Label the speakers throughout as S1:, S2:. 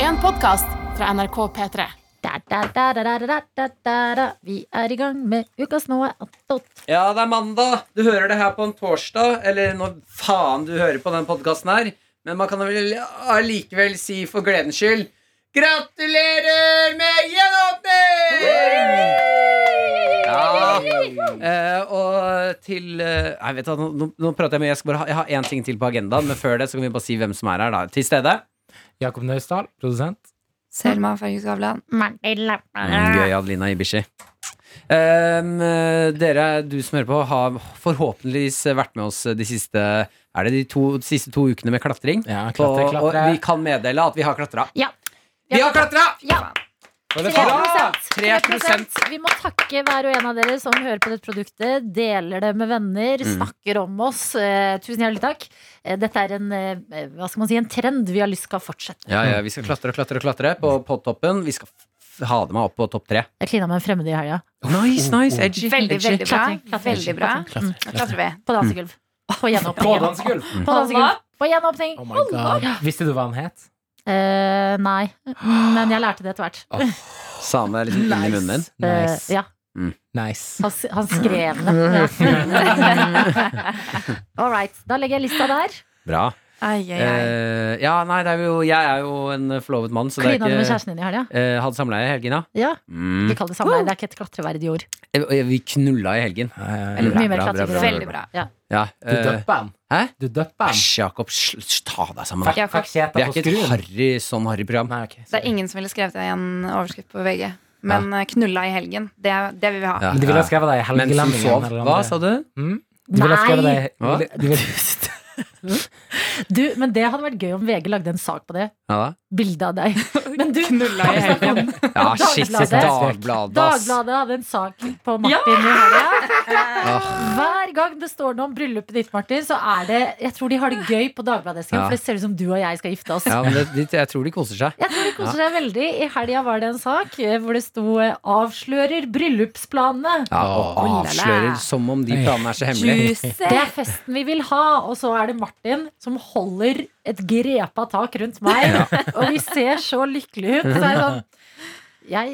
S1: en podkast fra NRK P3.
S2: Da, da, da, da, da, da, da, da, da. Vi er i gang med ukas noe attåt.
S3: Ja, det er mandag. Du hører det her på en torsdag, eller når faen du hører på den podkasten her. Men man kan vel allikevel si for gledens skyld Gratulerer med gjenåpning! Ja. Eh, og til eh, Nei, vet du, hva, nå, nå- nå prater jeg mye. Jeg, skal bare ha, jeg har én ting til på agendaen, men før det så kan vi bare si hvem som er her. da Til stede.
S4: Jakob Nøysdal, produsent.
S5: Selma Fergeskavlan.
S2: Eh.
S3: Mm, gøy, Adelina Ibishi. Ehm, eh, dere, du som hører på, har forhåpentligvis vært med oss de siste Er det de, to, de siste to ukene med klatring.
S4: Ja, klatre,
S3: Og-
S4: klatre.
S5: Mm,
S3: Og vi kan meddele at vi har klatra.
S2: Ja.
S3: Vi har klatra!
S2: Ja,
S4: Var det
S2: 3
S4: faen?
S3: Tre prosent.
S2: Vi må takke hver og en av dere som hører på dette produktet, deler det med venner,
S3: Mm.
S2: snakker om oss. Eh, tusen hjertelig takk. Eh, dette er en, eh, hva skal man si, en trend vi har lyst skal fortsette.
S3: Ja, ja, Vi skal klatre og klatre og klatre på podtoppen. Vi skal f- ha det meg opp på topp tre. Oh,
S2: Jeg klina med en fremmed i helga.
S3: Nice, nice, edgy.
S5: Veldig,
S3: edgy.
S5: veldig bra.
S2: Klatring, klatring,
S5: Veldig bra.
S4: Klatre,
S5: Nå klatrer vi.
S2: På dansegulv. På
S4: På
S2: gjenåpning.
S4: dansegulv.
S3: Mm.
S2: På dansegulv. På gjenåpning.
S4: Oh my god. Visste du hva han het?
S2: Eh, nei, men jeg lærte det etter hvert.
S3: Same er liksom inni munnen din.
S2: Eh,
S4: Nice.
S2: ja,
S4: nice.
S2: han, s- han skrev det. All right. Da legger jeg lista der.
S3: Bra.
S5: Ai, ai, ai.
S3: Eh, ja, nei, det er jo, jeg er jo en forlovet mann, så det er
S2: Klina du med
S3: ikke
S2: kjæresten din i helga?
S3: uh, Hadde samleie i helgen, ja.
S2: Ja.
S3: Mm.
S2: Vi kaller det samme. Det er ikke et klatreverdig ord.
S3: Eh, Vi knulla i helgen.
S4: Eh,
S2: Eller mye mer
S3: Bra, bra, bra,
S2: klatring.
S3: bra,
S5: Veldig bra.
S2: Ja.
S3: Ja,
S4: Du
S3: eh,
S4: døpper han.
S3: Hæ?
S4: Du døpper han.
S3: Æsj, Jakob. sl- sl- Ta deg sammen. da.
S5: Ja,
S4: Fuck, fuck, shit,
S3: Vi er
S4: jeg tar
S3: ikke et
S4: på skruen.
S3: harry, sånn harry-program.
S4: Nei, ok,
S5: Det er
S4: sorry.
S5: ingen som ville skrevet det i en overskrift på VG. Men eh, knulla i helgen, det, det vil vi ha.
S3: Ja,
S4: Men de ville ha
S3: ja.
S4: skrevet deg i
S3: Mens hun sov.
S4: Helgelandingen.
S3: Hva sa du?
S4: De ville ha skrevet deg
S3: Hva?
S4: de ville- de ville-
S2: Du, men det hadde vært gøy om VG lagde en sak på det.
S3: Ja, da.
S2: Bilde av deg. Men du,
S5: Knulla i helgen.
S3: ja shit.
S2: Dagbladet.
S3: Dagbladet, ass.
S2: Dagbladet hadde en sak på Martin i helga.
S3: Ah,
S2: Hver gang det står noe om bryllupet ditt, Martin, så er det Jeg tror de har det gøy på Dagbladet-esken,
S3: Ja.
S2: for det ser ut som du og jeg skal gifte oss.
S3: Ja, men det, de- jeg tror de koser seg.
S2: Jeg tror de koser seg veldig. I helga var det en sak eh, hvor det sto eh, 'Avslører bryllupsplanene'.
S3: Ja, og
S5: Oh, la, la.
S3: avslører som om de planene er så hemmelige.
S5: Juicy.
S2: Det er festen vi vil ha. Og så er det Martin som holder et grepa tak rundt meg. Og vi ser så lykkelige ut. Så er det sånn Jeg,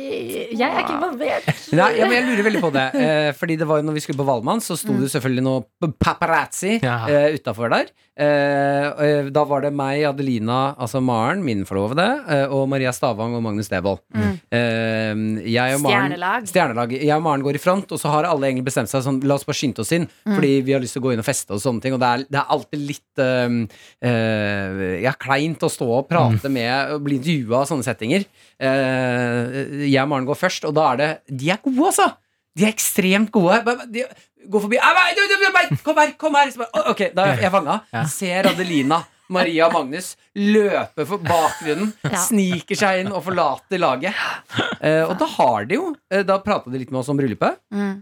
S2: jeg er ikke involvert.
S3: Nei, ja, men jeg lurer veldig på det. Eh, fordi det var jo når vi skulle på Valmann, så sto det jo selvfølgelig noe p- paparazzi
S4: Ja.
S3: eh, utafor der. Eh, og, eh, da var det meg, Adelina, altså Maren, min forlovede, eh, og Maria Stavang og Magnus Devold.
S5: Mm.
S3: Eh, jeg og Maren
S5: Stjernelag.
S3: Stjernelag. Jeg og Maren går i front, og så har alle egentlig bestemt seg sånn, la oss bare skynde oss inn, fordi vi har lyst til å gå inn og feste og sånne ting, og det er, det er alltid litt um, eh, ja, kleint å stå og prate med, og bli intervjua og sånne settinger. Eh, jeg og Maren går først, og da er det De er gode, altså! De er ekstremt gode. Ba- ba- De går forbi «Au, au, du, du, du, bare, Kom her, kom her! Så bare, «Å, ok, da er jeg fanga.
S4: Ja.
S3: Ser Adelina, Maria og Magnus løpe for bakgrunnen,
S2: Ja.
S3: sniker seg inn og forlater laget. Eh, og da har de jo eh, Da prata de litt med oss om bryllupet.
S5: Mm.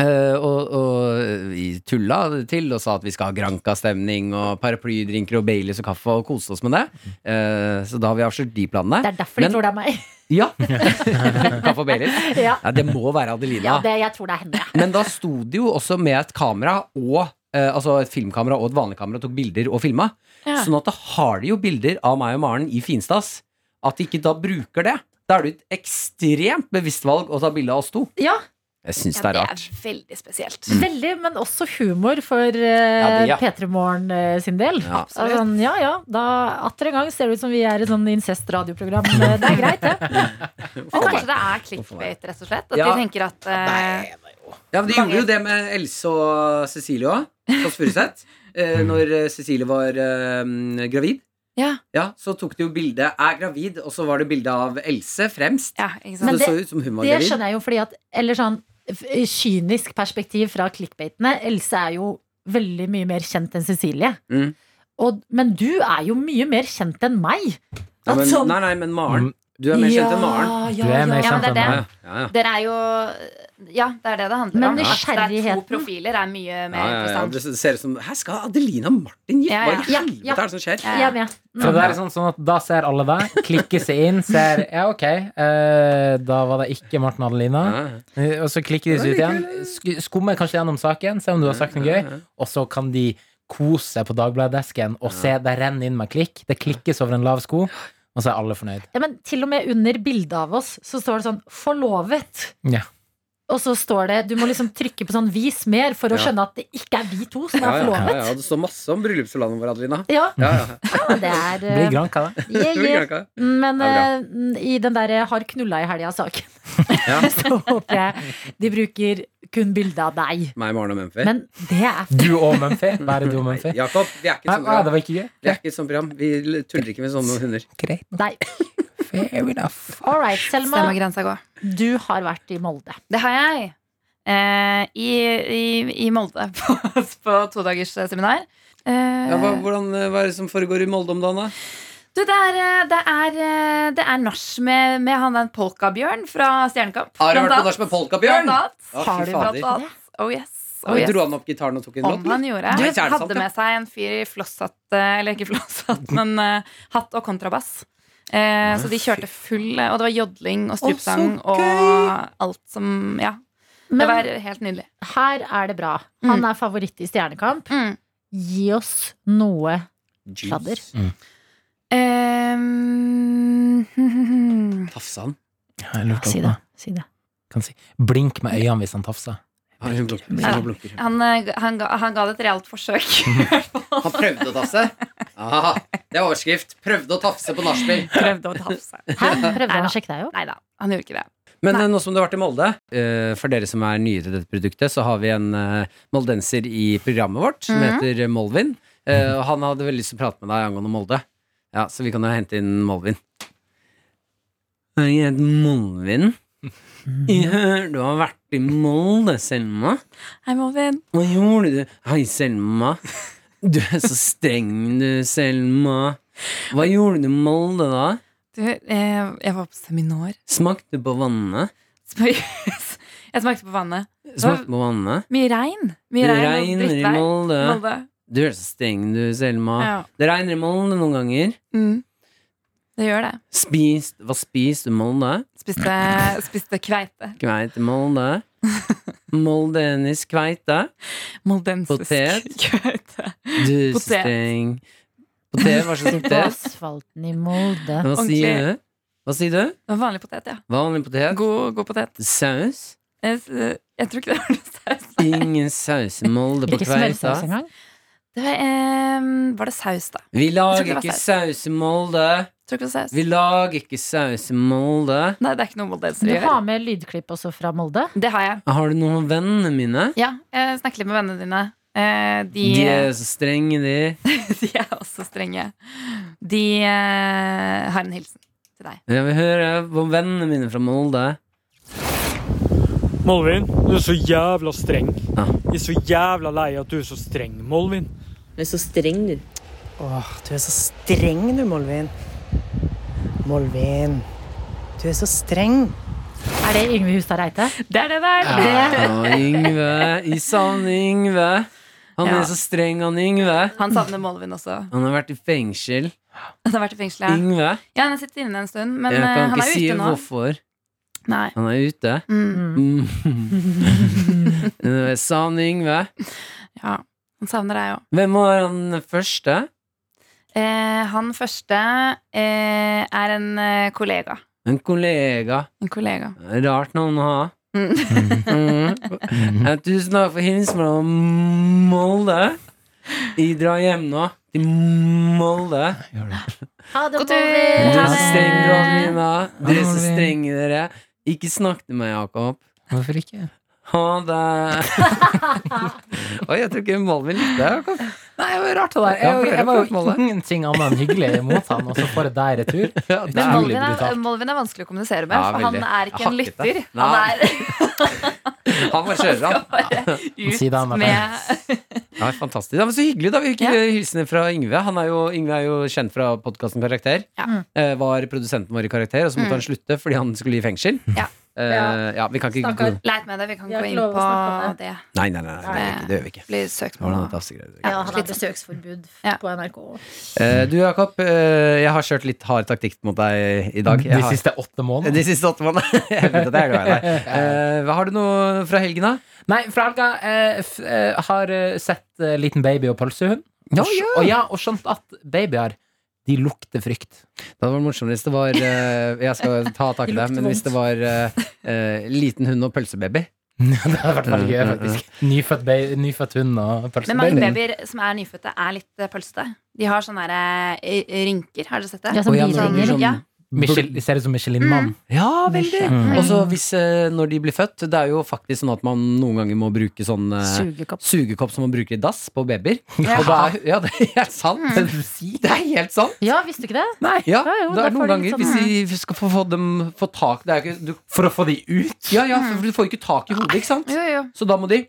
S3: eh, og, og vi tulla det til og sa at vi skal ha Granca-stemning og paraplydrinker og Baileys og kaffe og kose oss med det. Eh, så da har vi avslørt de planene.
S2: Det er derfor de
S3: Men-
S2: tror det er meg.
S3: Ja! kaffe og Baileys.
S2: Ja,
S3: Ja, det må være Adelina.
S2: ja det, Jeg tror det er henne.
S3: Men da sto de jo også med et kamera og eh, Altså et filmkamera og et vanlig kamera og tok bilder og filma.
S5: Ja.
S3: Sånn at da har de jo bilder av meg og Maren i finstas. At de ikke da bruker det. Da er det jo et ekstremt bevisst valg å ta bilde av oss to.
S2: Ja,
S3: Jeg syns
S5: Ja,
S3: det er
S5: det
S3: rart.
S5: er veldig spesielt.
S2: Veldig, men også humor for uh,
S3: det, ja.
S2: P3 Morgen eh, sin del.
S3: Ja.
S2: Det er Sånn, ja ja, da atter en gang ser det ut som vi er et sånn incest-radioprogram. Eh, Det er greit, det.
S5: Men kanskje det er clickbait, rett og slett? At
S3: Ja.
S5: de tenker at eh,
S3: Ja, men De
S5: Mange-
S3: gjorde jo det med Else og Cecilie òg, Kåss Furuseth. Eh, når eh, Cecilie var eh, gravid.
S5: ja,
S3: Ja, Så tok de jo bilde 'er gravid', og så var det bilde av Else fremst.
S5: ja, ikke
S3: Så
S2: Men
S3: det,
S5: sant?
S2: det-
S3: så ut som hun var
S2: Det
S3: gravid.
S2: skjønner jeg jo fordi at Eller sånn f- kynisk perspektiv fra clickbaitene. Else er jo veldig mye mer kjent enn Cecilie.
S3: Mm.
S2: Og, men du er jo mye mer kjent enn meg. At
S3: Ja, men,
S2: sånn-
S3: nei, nei, men Maren. Du er mer kjent enn Maren.
S4: Du er mer
S5: ja, men
S4: kjent
S5: det
S4: enn meg.
S5: er
S3: Ja, Mm. ja, ja.
S5: Dere er jo Ja, det er det det handler
S2: Men
S5: om. At Det er
S2: nysgjerrigheten-
S5: to profiler er mye mer
S3: Ja, ja, ja.
S5: interessant.
S3: Det ser ut som Her skal Adelina og Martin gifte
S5: Ja, ja.
S3: Hva i
S2: Ja,
S3: helvete
S2: ja.
S3: er det som skjer?
S5: Ja.
S2: Jeg er med.
S5: Mm.
S4: For det er sånn, sånn at Da ser alle deg, klikker seg inn, ser Ja, ok, eh, da var det ikke Martin og Adelina. Eh, Og så klikker de seg ut igjen, sk- skummer kanskje gjennom saken, se om du har sagt noe gøy, og så kan de kose seg på Dagbladet-desken og se det renner inn med klikk. Det klikkes over en lav sko. Og så er alle fornøyd.
S2: Ja, men til og med under bildet av oss så står det sånn 'forlovet'.
S4: Ja.
S2: Og så står det Du må liksom trykke på sånn 'vis mer' for å
S3: Ja.
S2: skjønne at det ikke er vi to som er
S3: Ja, ja, ja,
S2: forlovet.
S3: ja, det står masse om bryllupslandet vår, Adelina.
S2: Ja,
S3: Ja, ja.
S2: det er
S4: Det blir
S2: eh,
S4: granka, det.
S2: yeah,
S3: Det blir
S2: yeah.
S3: kranka.
S2: Men
S3: Det er
S2: eh, i den der 'har knulla i helga'-saken,
S3: Ja.
S2: så håper jeg de bruker kun bilde av deg.
S3: Meg, Maren og Mumphy.
S2: Men det er f-
S4: Du og Mumphy. Bare du og
S3: Nei,
S4: Mumphy.
S3: Jakob, vi er ikke sånn et
S4: Nei,
S3: sånt
S4: nei,
S3: program.
S4: det var ikke gøy.
S3: Vi er ikke et sånt program. Vi tuller ikke med sånne hunder.
S4: Greit.
S2: deg.
S4: Fair enough.
S2: All right,
S5: Der må
S2: Selma.
S5: grensa gå.
S2: Du har vært i Molde.
S5: Det har jeg. Eh, i, i, I Molde, på, på todagers seminar. Eh,
S3: Ja, hva, hvordan, eh, hva er det som foregår i Molde om dagen, da?
S5: du, det er, eh, det er, eh, det er nach med, med han den polkabjørn fra Stjernekamp.
S3: Har du vært
S5: blant
S3: på
S5: annet.
S3: nach med polkabjørn?
S5: Blant annet.
S3: Å, fy
S2: Har du
S3: fader.
S5: Blant annet. Oh yes. Oh,
S3: Oi,
S5: yes.
S3: Dro han opp gitaren og tok en
S5: Om
S3: låt?
S5: han gjorde.
S3: Nei, ikke er det
S5: Du
S3: sant,
S5: hadde
S3: ja.
S5: med seg en fyr i flosshatt, eh, eller ikke flosshatt, men eh, hatt og kontrabass. Eh, så de kjørte full, eh, og det var jodling og strupsang
S3: Å, så
S5: og
S3: gøy!
S5: alt som Ja. Det var
S2: Men
S5: helt nydelig.
S2: her er det bra. Han er favoritt i Stjernekamp.
S5: Mm.
S2: Gi oss noe
S3: Jeez.
S2: Sladder.
S5: Ehm,
S3: Tafsa han?
S4: Jeg lurer på
S2: Si
S4: om
S2: det.
S4: jeg
S2: Si det.
S4: kan si. Blink med øynene hvis han tafser.
S3: Han, hun blunker.
S5: Ja.
S3: Hun blunker.
S5: han, eh, ga- han, ga, han ga det et realt forsøk. i hvert fall.
S3: han prøvde å tafse? Aha, det er overskrift. Prøvde å tafse på nachspiel.
S5: Prøvde å tafse.
S2: Hæ? Prøvde han
S5: Neida.
S2: å sjekke deg opp?
S5: Nei da, han gjorde ikke det.
S3: Men eh, nå som du har vært i Molde, eh, for dere som er nye til dette produktet, så har vi en eh, moldenser i programmet vårt som
S5: Mhm.
S3: heter Molvin. Eh, og han hadde veldig lyst til å prate med deg angående Molde. Ja, Så vi kan jo hente inn Molvin. Jeg heter Molvin. Jeg hører du har vært i Molde, Selma.
S5: Hei, Malvin.
S3: Hva gjorde du? Hei, Selma. Du er så streng, du, Selma. Hva gjorde du i Molde, da?
S5: Du, eh, jeg var på seminar.
S3: Smakte du på vannet?
S5: Jeg smakte på vannet.
S3: Smakte på vannet?
S5: Mye regn. Mye
S3: Det
S5: regn og
S3: regner i
S5: drittvær.
S3: Molde.
S5: Molde.
S3: Du er så streng, du, Selma.
S5: Ja.
S3: Det regner i Molde noen ganger.
S5: Mm. Det gjør det.
S3: Spis, hva spiser du i Molde?
S5: Spiste, spiste kveite.
S3: Kveit i Molde. Moldenis kveite.
S5: Moldensisk
S3: Potet.
S5: kveite.
S3: Du er så
S5: Potet.
S3: streng. Potet, hva slags
S2: På
S3: potet?
S2: asfalten i Molde.
S3: Hva
S5: Ordentlig.
S3: sier du? Hva sier du?
S5: Det var vanlig potet, ja.
S3: Vanlig potet?
S5: God, god potet.
S3: Saus?
S5: Jeg, s- jeg tror ikke det var noe saus.
S3: Ingen saus i Molde på
S2: Ikke
S3: kveita.
S2: smørsaus engang.
S5: Det var, ehm, var det saus, da?
S3: Vi
S5: Jeg tror
S3: lager
S5: det var
S3: ikke
S5: saus.
S3: saus i Molde.
S5: Tror ikke det var saus.
S3: Vi lager ikke saus i Molde.
S5: Nei, det er ikke noe moldensere
S2: Du
S5: gjør.
S2: har med lydklipp også fra Molde.
S5: Det har jeg.
S3: Har du noen av vennene mine?
S5: Ja, jeg snakker litt med vennene dine. Eh, de,
S3: De er så strenge, de.
S5: de er også strenge. De eh, har en hilsen til deg.
S3: Jeg vil høre på vennene mine fra Molde.
S6: Molvin, du er så jævla streng.
S3: Ja.
S6: Jeg er så jævla lei at du er så streng, Molvin.
S7: Du er så streng, du.
S8: Åh, du er så streng du, Molvin. Molvin, du er så streng.
S2: Er det Yngve Hustad Reite?
S5: Det er det der!
S3: Og Yngve. Jeg savner Yngve. Han
S5: Ja.
S3: er så streng, han Yngve.
S5: Han savner Molvin også.
S3: Han har vært i fengsel.
S5: Han har vært i fengselet.
S3: Yngve.
S5: Ja, han har sittet inne en stund, men
S3: Jeg
S5: eh,
S3: kan
S5: han
S3: ikke
S5: er
S3: si
S5: ute nå.
S3: hvorfor.
S5: Nei.
S3: Han er ute.
S5: Mm.
S3: Mm. Jeg savner Yngve.
S5: Ja, han savner deg òg.
S3: Hvem var han første?
S5: Eh, han første eh, er en eh, kollega.
S3: En kollega.
S5: En kollega.
S3: Rart navn å ha.
S5: Mm.
S3: Mm. Eh, Tusen takk for hilsen fra Molde. Jeg drar hjem nå til Molde.
S2: Ha det,
S5: God
S3: Du
S5: tur!
S2: Molde!
S3: er
S5: Ha
S3: så
S5: det.
S3: streng, Adelina. Du er så
S4: Adelina.
S3: streng, dere. Ikke snakk til meg, Jakob.
S4: Hvorfor ikke?
S3: Ha det. Oi, jeg tror ikke Malvin likte det. Jakob.
S4: Nei, det var rart det der. Jeg, jeg, jeg var jo ingenting annet enn hyggelig mot han, og så får jeg deg i retur.
S3: Ja, det
S5: Men
S3: er-
S4: Utrolig
S5: Molvin er,
S4: brutalt.
S5: Molvin er vanskelig å kommunisere med,
S3: Ja,
S5: for han
S3: veldig.
S5: er ikke en
S3: Hakkete.
S5: lytter. Han
S3: Nei.
S5: er
S3: Han bare kjører, han.
S5: bare
S4: Si det, han
S5: ut
S4: er
S5: med
S3: Ja, fantastisk. Det var så hyggelig. da Vi fikk
S5: Ja.
S3: eh, hilsener fra Yngve. Han er jo, Yngve er jo kjent fra podkasten Karakter.
S5: Ja.
S3: Eh, var produsenten vår i Karakter, og så måtte han slutte fordi han skulle i fengsel.
S5: Ja.
S3: Eh, ja, vi kan ikke
S2: Stakkar.
S5: Leit med det, vi kan
S2: Vi har
S5: gå
S2: ikke
S5: inn
S2: lov å
S5: på
S2: snakke om
S5: det.
S3: Nei, nei, nei, nei det, gjør vi ikke, det gjør vi ikke.
S5: Blir
S3: Det var noe
S5: søksmål.
S3: tafsegreier.
S2: Ja, han har
S5: Slitsomt.
S2: besøksforbud
S5: Ja.
S2: på NRK.
S3: Eh, du Jakob, eh, jeg har kjørt litt hard taktikk mot deg i dag. Jeg
S4: De
S3: har-
S4: siste åtte månedene.
S3: de siste åtte månedene. jeg vet at jeg er glad i deg. Eh, hva har du noe fra helgen, da?
S4: Nei, fra helga eh, f, eh, har eh, sett eh, Liten baby og pølsehund.
S3: Ja,
S4: Og, skj- og, ja, og skjønt at babyer De lukter frykt.
S3: Det hadde vært morsomt hvis det var eh, Jeg skal ta tak i det, men hvis det var eh, eh, liten hund og pølsebaby.
S4: det hadde vært veldig gøy, faktisk. Mm, Nyfødt, ba- nyfødt hund og
S5: Men mange
S4: pølsebaby.
S5: babyer som er nyfødte, er litt eh, pølsete. De har sånne der, eh, rynker. Har dere sett det?
S2: Ja, som
S3: Og jeg-
S2: bilringer.
S3: sånn-
S5: Ja.
S4: Michel- De ser ut som Michelin-mann.
S3: Ja, veldig!
S4: Mm.
S3: Og så hvis eh, når de blir født Det er jo faktisk sånn at man noen ganger må bruke sånn eh,
S2: Sugekopp.
S3: sugekopp som man bruker i dass på babyer. Og da er, ja, det er helt sant! Det er helt sant!
S2: Ja, visste du ikke det?
S3: Nei, ja,
S2: Ja, jo,
S3: det
S2: da får
S3: er noen
S2: de
S3: ganger
S2: litt
S5: sånn
S3: Hvis de skal få, få dem få tak det er ikke, du,
S4: For å få de ut?
S3: Ja, ja, for du får jo ikke tak i hodet, ikke sant?
S5: Jo, jo.
S3: Så da må de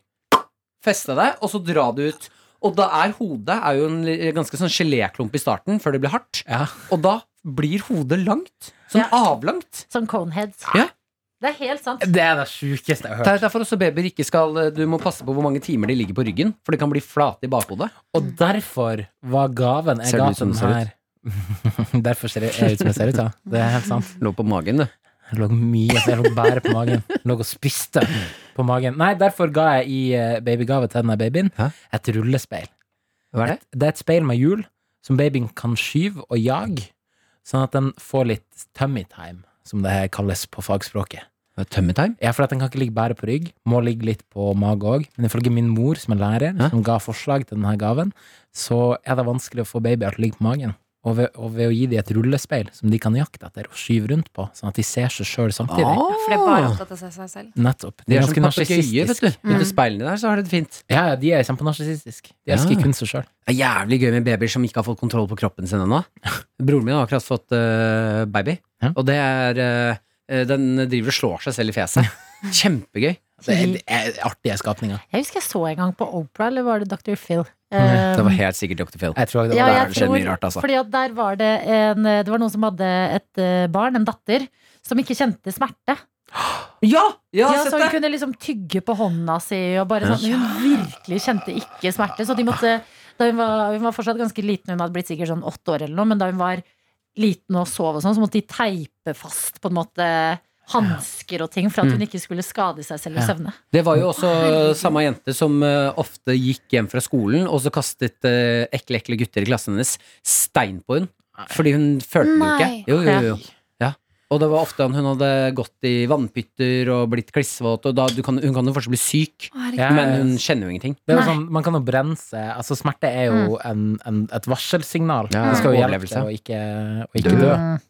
S3: feste deg, og så dra det ut. Og da er hodet er jo en li- ganske sånn geléklump i starten, før det blir hardt.
S4: Ja.
S3: Og da blir hodet langt. Sånn avlangt.
S2: Som coneheads.
S3: Ja.
S2: Det er helt sant.
S4: Det er det sjukeste jeg har hørt.
S3: Det er derfor også babyer ikke skal eh, Du må passe på hvor mange timer de ligger på ryggen, for de kan bli flate i bakhodet.
S4: Og derfor var gaven jeg
S3: Ser du
S4: ga
S3: ut
S4: til
S3: som
S4: den
S3: du ser
S4: her Derfor ser jeg jeg ut som jeg ser ut, ja. Det er helt sant.
S3: Lå på magen, du.
S4: Jeg lå mye Jeg lå bare på magen. Jeg lå og spiste på magen. Nei, derfor ga jeg i eh, babygave til denne babyen
S3: Hæ?
S4: et rullespeil.
S3: Hva er det?
S4: Det er et speil med hjul som babyen kan skyve og jage, sånn at den får litt tummy time, som det her kalles på fagspråket.
S3: Det er Tummy time?
S4: Ja, for at den kan ikke ligge bare på rygg, må ligge litt på mage òg. Men ifølge min mor, som er lærer,
S3: Hæ?
S4: som ga forslag til denne gaven, så er det vanskelig å få babyer til å ligge på magen. Og ved, og ved å gi dem et rullespeil som de kan jakte etter og skyve rundt på, sånn at de ser seg sjøl samtidig.
S5: Ja, For det er bare opptatt av seg- seg selv.
S4: Nettopp.
S3: Ah. De er som papegøyer, vet
S4: narsissistiske.
S3: du. Ute i
S5: Mm.
S3: speilene der, så har de det fint.
S4: Ja, ja, de er kjempenarsissistiske. De elsker
S3: Ja.
S4: kun seg sjøl.
S3: Det er jævlig gøy med babyer som ikke har fått kontroll på kroppen sin ennå. Broren min har akkurat fått eh, baby,
S4: Ja.
S3: og det er eh, Den driver og slår seg selv i fjeset. Kjempegøy.
S4: Det er, det er artige skapninger.
S2: Jeg husker jeg så en gang på Oprah, eller var det Dr. Phil?
S3: Det var helt sikkert Dr. Phil.
S4: Jeg tror det
S2: Ja,
S4: var
S3: der
S2: jeg
S3: det skjedde
S2: tror,
S3: mye rart, altså.
S2: Fordi at der var det en eh, Det var noen som hadde et eh, barn, en datter, som ikke kjente smerte.
S3: Ja! ja,
S2: Ja,
S3: sett
S2: så hun
S3: det!
S2: kunne liksom tygge på hånda si og bare sånn. Hun virkelig kjente ikke smerte. Så de måtte da hun, var, hun var fortsatt ganske liten, hun hadde blitt sikkert sånn åtte år eller noe, men da hun var liten og sov og sånn, så måtte de teipe fast på en måte hansker og ting for at hun ikke skulle skade seg selv i
S4: Ja.
S2: søvne.
S3: Det var jo også samme jente som eh, ofte gikk hjem fra skolen, og så kastet eh, ekle, ekle gutter i klassen hennes stein på henne. Fordi hun følte det jo ikke.
S5: Nei.
S3: Jo, jo, jo, jo. Ja. Og det var ofte hun hadde gått i vannpytter og blitt klissvåt, og da, du kan, hun kan jo fortsatt bli syk,
S5: Å, herregud.
S4: Ja,
S3: men hun kjenner jo ingenting.
S4: Det er jo
S2: Nei.
S4: sånn, man kan jo bremse Altså smerte er jo
S5: Mm.
S4: en, en, et varselsignal
S3: Ja,
S4: Det skal jo hjelpe
S3: overlevelse.
S4: til å ikke, å ikke dø
S5: Mm.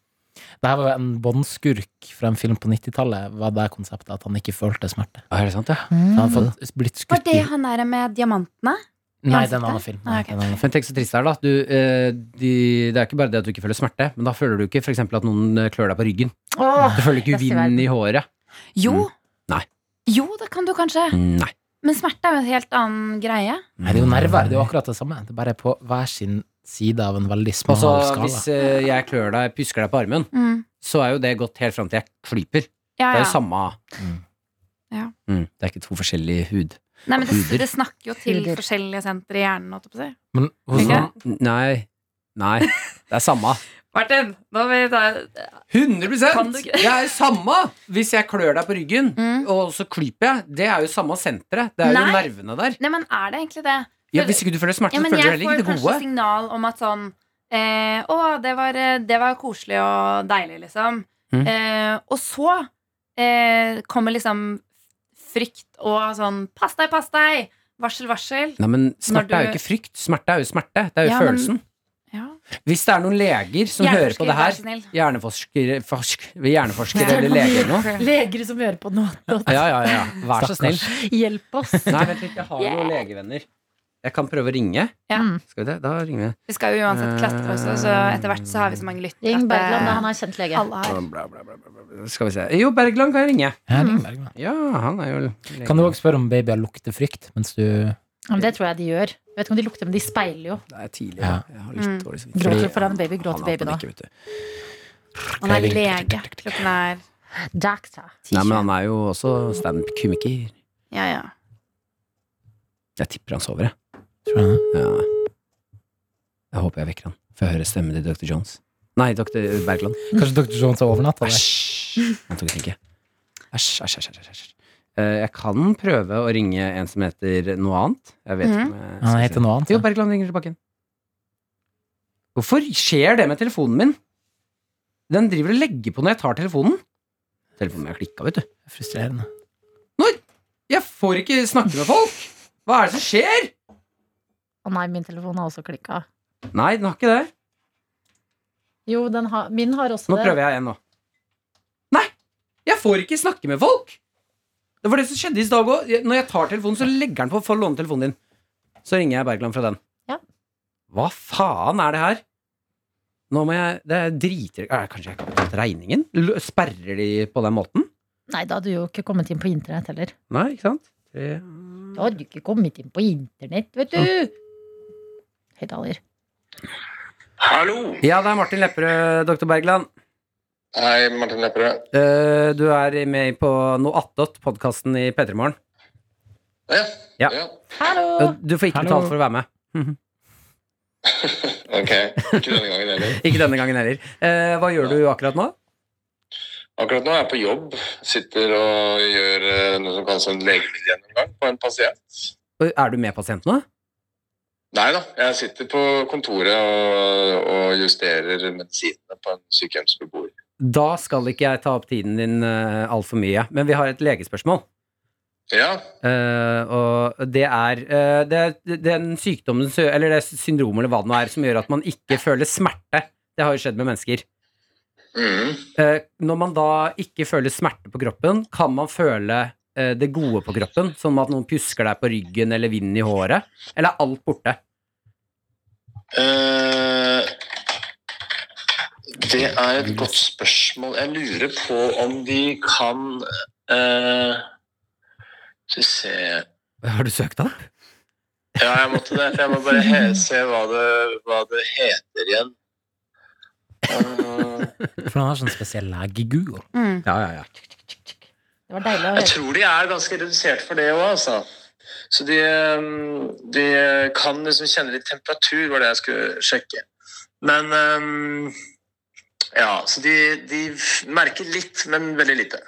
S4: Dette var jo en bondskurk fra en film på 90-tallet Var det konseptet at han ikke følte smerte
S3: Er det sant, ja?
S4: Så Han hadde blitt
S5: Mm. Var
S4: skutt i
S5: det han der med diamantene?
S4: Nei,
S5: ansiktet?
S4: det er en annen film
S5: Ah, ok.
S4: Nei, det er en annen film.
S3: Men tenk så trist det er, da. Du, eh, de, det er ikke bare det at du ikke føler smerte, men da føler du ikke f.eks. at noen eh, klør deg på ryggen.
S2: Åh,
S3: Du føler ikke
S2: beste i verden.
S3: vind i håret.
S5: Jo.
S3: Mm. Nei.
S5: Jo, det kan du kanskje.
S3: Nei.
S5: Men smerte er jo en helt annen greie.
S4: Nei, det er jo nerver, det er jo akkurat det samme Det er bare på hver sin side av en veldig smal
S3: Altså,
S4: skala
S3: hvis eh, jeg klør deg, pjusker deg på armen,
S5: Mm.
S3: så er jo det gått helt fram til jeg klyper.
S5: Ja,
S3: Det er jo
S5: ja.
S3: samme
S4: Mm.
S5: Ja.
S3: Mm, Det er ikke to forskjellige hud.
S5: Nei, men det,
S3: Huder.
S5: det snakker jo til
S2: Huder.
S5: forskjellige sentre i hjernen. holdt jeg på å si.
S4: Men hos
S5: Ikke?
S4: noen
S3: Nei. Nei. Det er samme.
S5: Martin, nå vil vi ta
S3: 100
S5: Kan du ikke-
S3: Det er jo samme hvis jeg klør deg på ryggen,
S5: Mm.
S3: og så klyper jeg. Det er jo samme senteret. Det er jo
S5: Nei.
S3: nervene der.
S5: Nei, men er det egentlig det?
S3: Ja, hvis ikke du føler smerte,
S5: Ja,
S3: så
S5: men
S3: føler du
S5: jeg
S3: heller
S5: får
S3: ikke det
S5: kanskje
S3: gode.
S5: signal om at sånn eh, Å, det var, eh, det var koselig og deilig, liksom.
S3: Mm.
S5: Eh, og så eh, kommer liksom frykt og sånn Pass deg, pass deg! Varsel, varsel.
S3: Nei, men
S5: Når
S3: smerte
S5: du-
S3: er jo ikke frykt. Smerte er jo smerte. Det er jo
S5: Ja, men-
S3: følelsen.
S5: Ja.
S3: Hvis det er noen leger som hører på det her, hjerneforskere, forsk, hjerneforskere
S2: Ja.
S3: eller leger eller noe
S2: leger som hører på noe.
S3: Ja, ja, ja. Vær så
S4: Stakkars.
S3: snill.
S2: Hjelp oss.
S3: Nei, vent litt, jeg har noen legevenner. Jeg kan prøve å ringe.
S5: Ja.
S4: Mm.
S3: Skal vi det? Da ringer vi.
S5: Vi skal jo uansett klatre også, så
S3: Eh.
S5: etter hvert så har vi så mange lyttere.
S2: Ring
S5: at,
S2: Bergland, da
S5: eh,
S2: han er kjent lege.
S5: alle har.
S3: Bla, bla, bla, bla, bla. Skal vi se. Jo, Bergland kan jeg ringe.
S4: Ja,
S5: Mm.
S4: ring Bergman.
S3: Ja, han er jo lege.
S4: Kan du også spørre om babyer lukter frykt Mens du
S2: Ja, men Det tror jeg de gjør. Jeg vet ikke om de lukter, men de speiler jo.
S3: Det er tidlig.
S4: Ja.
S3: da. Jeg har litt
S5: Mm.
S3: dårlig samvittighet.
S2: Gråter
S3: Fordi-
S2: for en baby,
S3: Han
S2: gråter
S3: har
S2: baby nå.
S3: panikk, vet du.
S5: Han er lege. Klokken er
S2: Doctor.
S3: Nei, men han er jo også standup-komiker.
S5: Ja, ja.
S3: Jeg tipper han sover, jeg.
S4: Tror jeg det?
S3: Ja. Jeg håper jeg vekker han, for jeg hører stemmen til Dr. Jones. Nei, Dr. Bergland.
S4: Kanskje Dr. Jones har overnatta der
S3: Æsj! Jeg tok ikke. Æsj, æsj, æsj, æsj, æsj. æsj. Eh, Jeg kan prøve å ringe en som heter noe annet. Jeg vet ikke om jeg
S4: Han heter noe annet
S3: Jo,
S4: ja.
S3: Bergland ringer tilbake. Hvorfor skjer det med telefonen min? Den driver og legger på når jeg tar telefonen. Telefonen min har klikka, vet du.
S4: Frustrerende.
S3: Jeg får ikke snakke med folk! Hva er det som skjer?
S2: Å nei, min telefon har også klikka.
S3: Nei, den har ikke det.
S2: Jo, den har, min har også
S3: Nå
S2: det.
S3: prøver jeg igjen, nå. Nei! Jeg får ikke snakke med folk! Det var det som skjedde i dag òg. Når jeg tar telefonen, så legger den på for å låne telefonen din. Så ringer jeg Bergland fra den.
S2: Ja.
S3: Hva faen er det her? Nå må jeg Det er driter er det Kanskje jeg ikke har betalt regningen? L- Sperrer de på den måten?
S2: Nei, da hadde du jo ikke kommet inn på internett heller.
S3: Nei, ikke sant? Det,
S2: Da hadde du ikke kommet inn på internett, vet du! Høyttaler.
S7: Hallo!
S3: ja, det er Martin Lepperød, doktor Bergland.
S7: Hei, Martin Lepperød.
S3: Eh, du er med på noe attåt, podkasten i P3 Morgen.
S7: Ja.
S3: Ja.
S2: Hallo!
S3: Du får ikke
S4: Hallo.
S3: betalt for å være med.
S7: Ok. Ikke denne gangen heller.
S3: Ikke denne gangen heller. Eh, hva gjør du akkurat nå?
S7: Akkurat nå er jeg på jobb. Sitter og gjør eh, noe som kalles en legemiddelgjennomgang på en pasient.
S3: Og Er du med pasienten nå?
S7: Nei da, jeg sitter på kontoret og, og justerer medisinene på en sykehjemsbeboer.
S3: Da skal ikke jeg ta opp tiden din uh, altfor mye, men vi har et legespørsmål.
S7: Ja.
S3: Eh, og det er eh, det, det- den sykdommen, sø- eller det syndromet eller hva det nå er, som gjør at man ikke føler smerte. Det har jo skjedd med mennesker.
S7: Mm.
S3: Eh, når man da ikke føler smerte på kroppen, kan man føle eh, det gode på kroppen, som at noen pjusker deg på ryggen eller vind i håret, eller er alt borte?
S7: Eh, det er et godt spørsmål. Jeg lurer på om de kan eh, Skal vi se
S3: Har du søkt opp?
S7: Ja, jeg måtte det. for Jeg må bare he se hva det, hva det heter igjen. Eh,
S4: For han har sånn spesiell legegoogle.
S5: Mm.
S3: Ja, ja, ja.
S2: Det var deilig å
S7: jeg
S2: høre.
S7: tror de er ganske redusert for det òg, altså. Så de, eh, de kan liksom kjenne litt temperatur, var det jeg skulle sjekke. Men eh, Ja, så de, de f- merker litt, men veldig lite.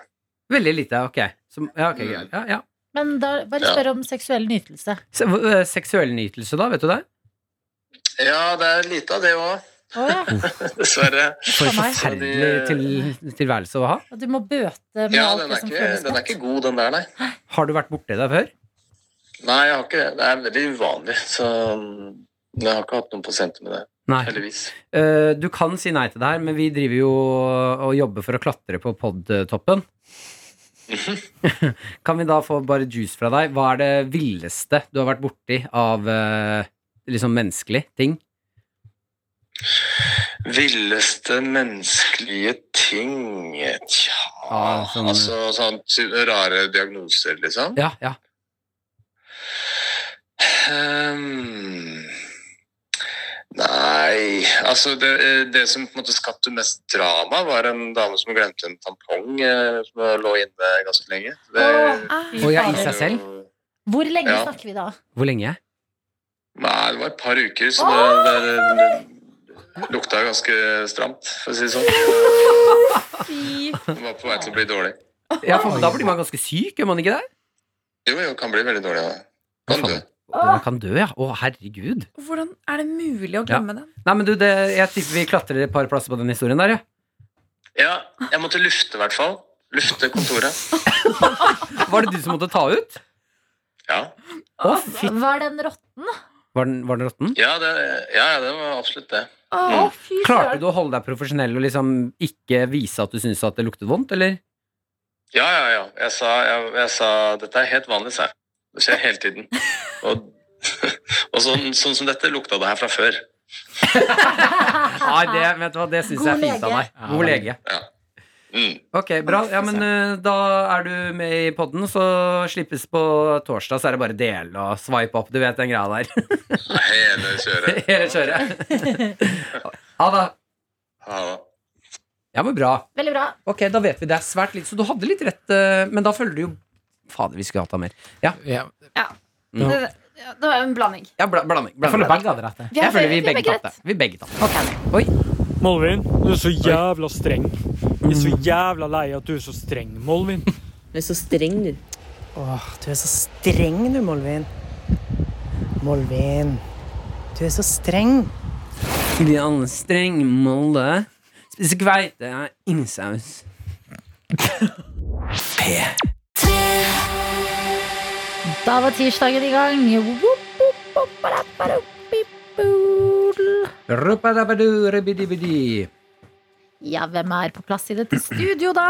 S3: Veldig lite, ok. Så, ja, ok, greit. ja, ja.
S2: Men da bare
S7: Ja.
S2: spør om seksuell nytelse.
S3: Se- hva- eh, Seksuell nytelse, da? Vet du det?
S7: Ja, det er lite av det òg,
S2: Å ja,
S7: dessverre.
S3: For en
S2: Nei.
S3: forferdelig til, tilværelse å ha.
S2: og du må bøte med
S7: Ja,
S2: alt
S7: den
S2: det
S7: er,
S2: som
S7: ikke,
S2: føles
S7: den er
S2: godt.
S7: ikke god, den der, nei.
S3: Har du vært borti det før?
S7: Nei, jeg har ikke det. Det er veldig uvanlig, så mm, jeg har ikke hatt noen pasienter med det,
S3: Nei.
S7: heldigvis.
S3: Eh, Du kan si nei til det her, men vi driver jo og jobber for å klatre på podtoppen. kan vi da få bare juice fra deg? Hva er det villeste du har vært borti av eh, liksom menneskelig ting?
S7: Villeste menneskelige ting Tja
S3: Ja, sånn-
S7: Altså sånn ty- rare diagnoser, liksom.
S3: Ja, ja.
S7: Ehm, nei Altså, det, eh, det som på en måte skapte mest drama, var en dame som glemte en tampong eh, som lå inne ganske lenge. Det,
S2: Fy
S3: Og jeg
S2: fader.
S3: i seg selv?
S2: Hvor lenge
S7: Ja.
S2: snakker vi da?
S3: Hvor lenge?
S7: Nei, det var et par uker, så det, det, det lukta ganske stramt, for å si det sånn.
S2: Fy
S7: Det var på vei til å bli dårlig.
S3: Ja, for da blir man ganske syk, gjør man ikke det?
S7: Jo, jo, kan bli veldig dårlig av det. Kan dø.
S3: Man kan dø, ja. Å, herregud.
S5: Hvordan er det mulig å glemme den?
S3: Nei, men du, det, jeg tipper vi klatrer et par plasser på den historien der, ja.
S7: Ja, jeg måtte lufte i hvert fall. Lufte kontoret.
S3: Var det du som måtte ta ut?
S7: Ja,
S3: Å, fy...
S2: Var den rotten?
S3: Var den, var den råtten?
S7: ja, det, ja, ja, det var absolutt det.
S2: Å, fy
S3: Klarte du å holde deg profesjonell og liksom ikke vise at du syntes at det luktet vondt, eller?
S7: Ja, ja, ja. Jeg sa, jeg, jeg sa dette er helt vanlig, sa jeg. Det skjer hele tiden. Og, og sånn, sånn som dette lukta det her fra før.
S3: Nei, det, vet du hva, det syns
S2: God
S3: jeg er fint av
S2: lege.
S3: deg. God lege.
S7: Mm.
S3: Ok, bra. Ja, men
S2: altså.
S3: eh, da er du med i podden, så slippes på torsdag, så er det bare del og swipe opp. Du vet den greia der.
S7: Hele kjøret.
S3: Hele kjøret. Ja da.
S7: Ja, da.
S3: Ja, men bra.
S2: Veldig bra.
S3: Ok, da vet vi det er svært litt, så du hadde litt rett, eh, men da følger du jo Fader, vi skulle hatt av mer.
S4: Ja.
S5: Det, det- det var en blanding.
S3: Ja, bla, blanding.
S4: Jeg føler
S3: blanding.
S4: begge hadde rett. jeg.
S3: Jeg føler vi
S5: har
S3: begge
S5: begge
S3: tatt det. Vi begge tatt det.
S6: Malvin, du er så jævla streng. Jeg er så jævla lei at du er så streng, Malvin.
S9: Du er så streng, du.
S8: Åh, du er så streng du, Molvin. Molvin, du er så streng.
S3: Vi alle strenge Molde. Spiser kveite, har innsaus.
S2: Da var tirsdagen i gang. Woop, woop, woop, bada, bada, bip, boodle.
S3: Rupadabadu, rubidibidi.
S2: Ja, hvem er på plass i dette studio, da?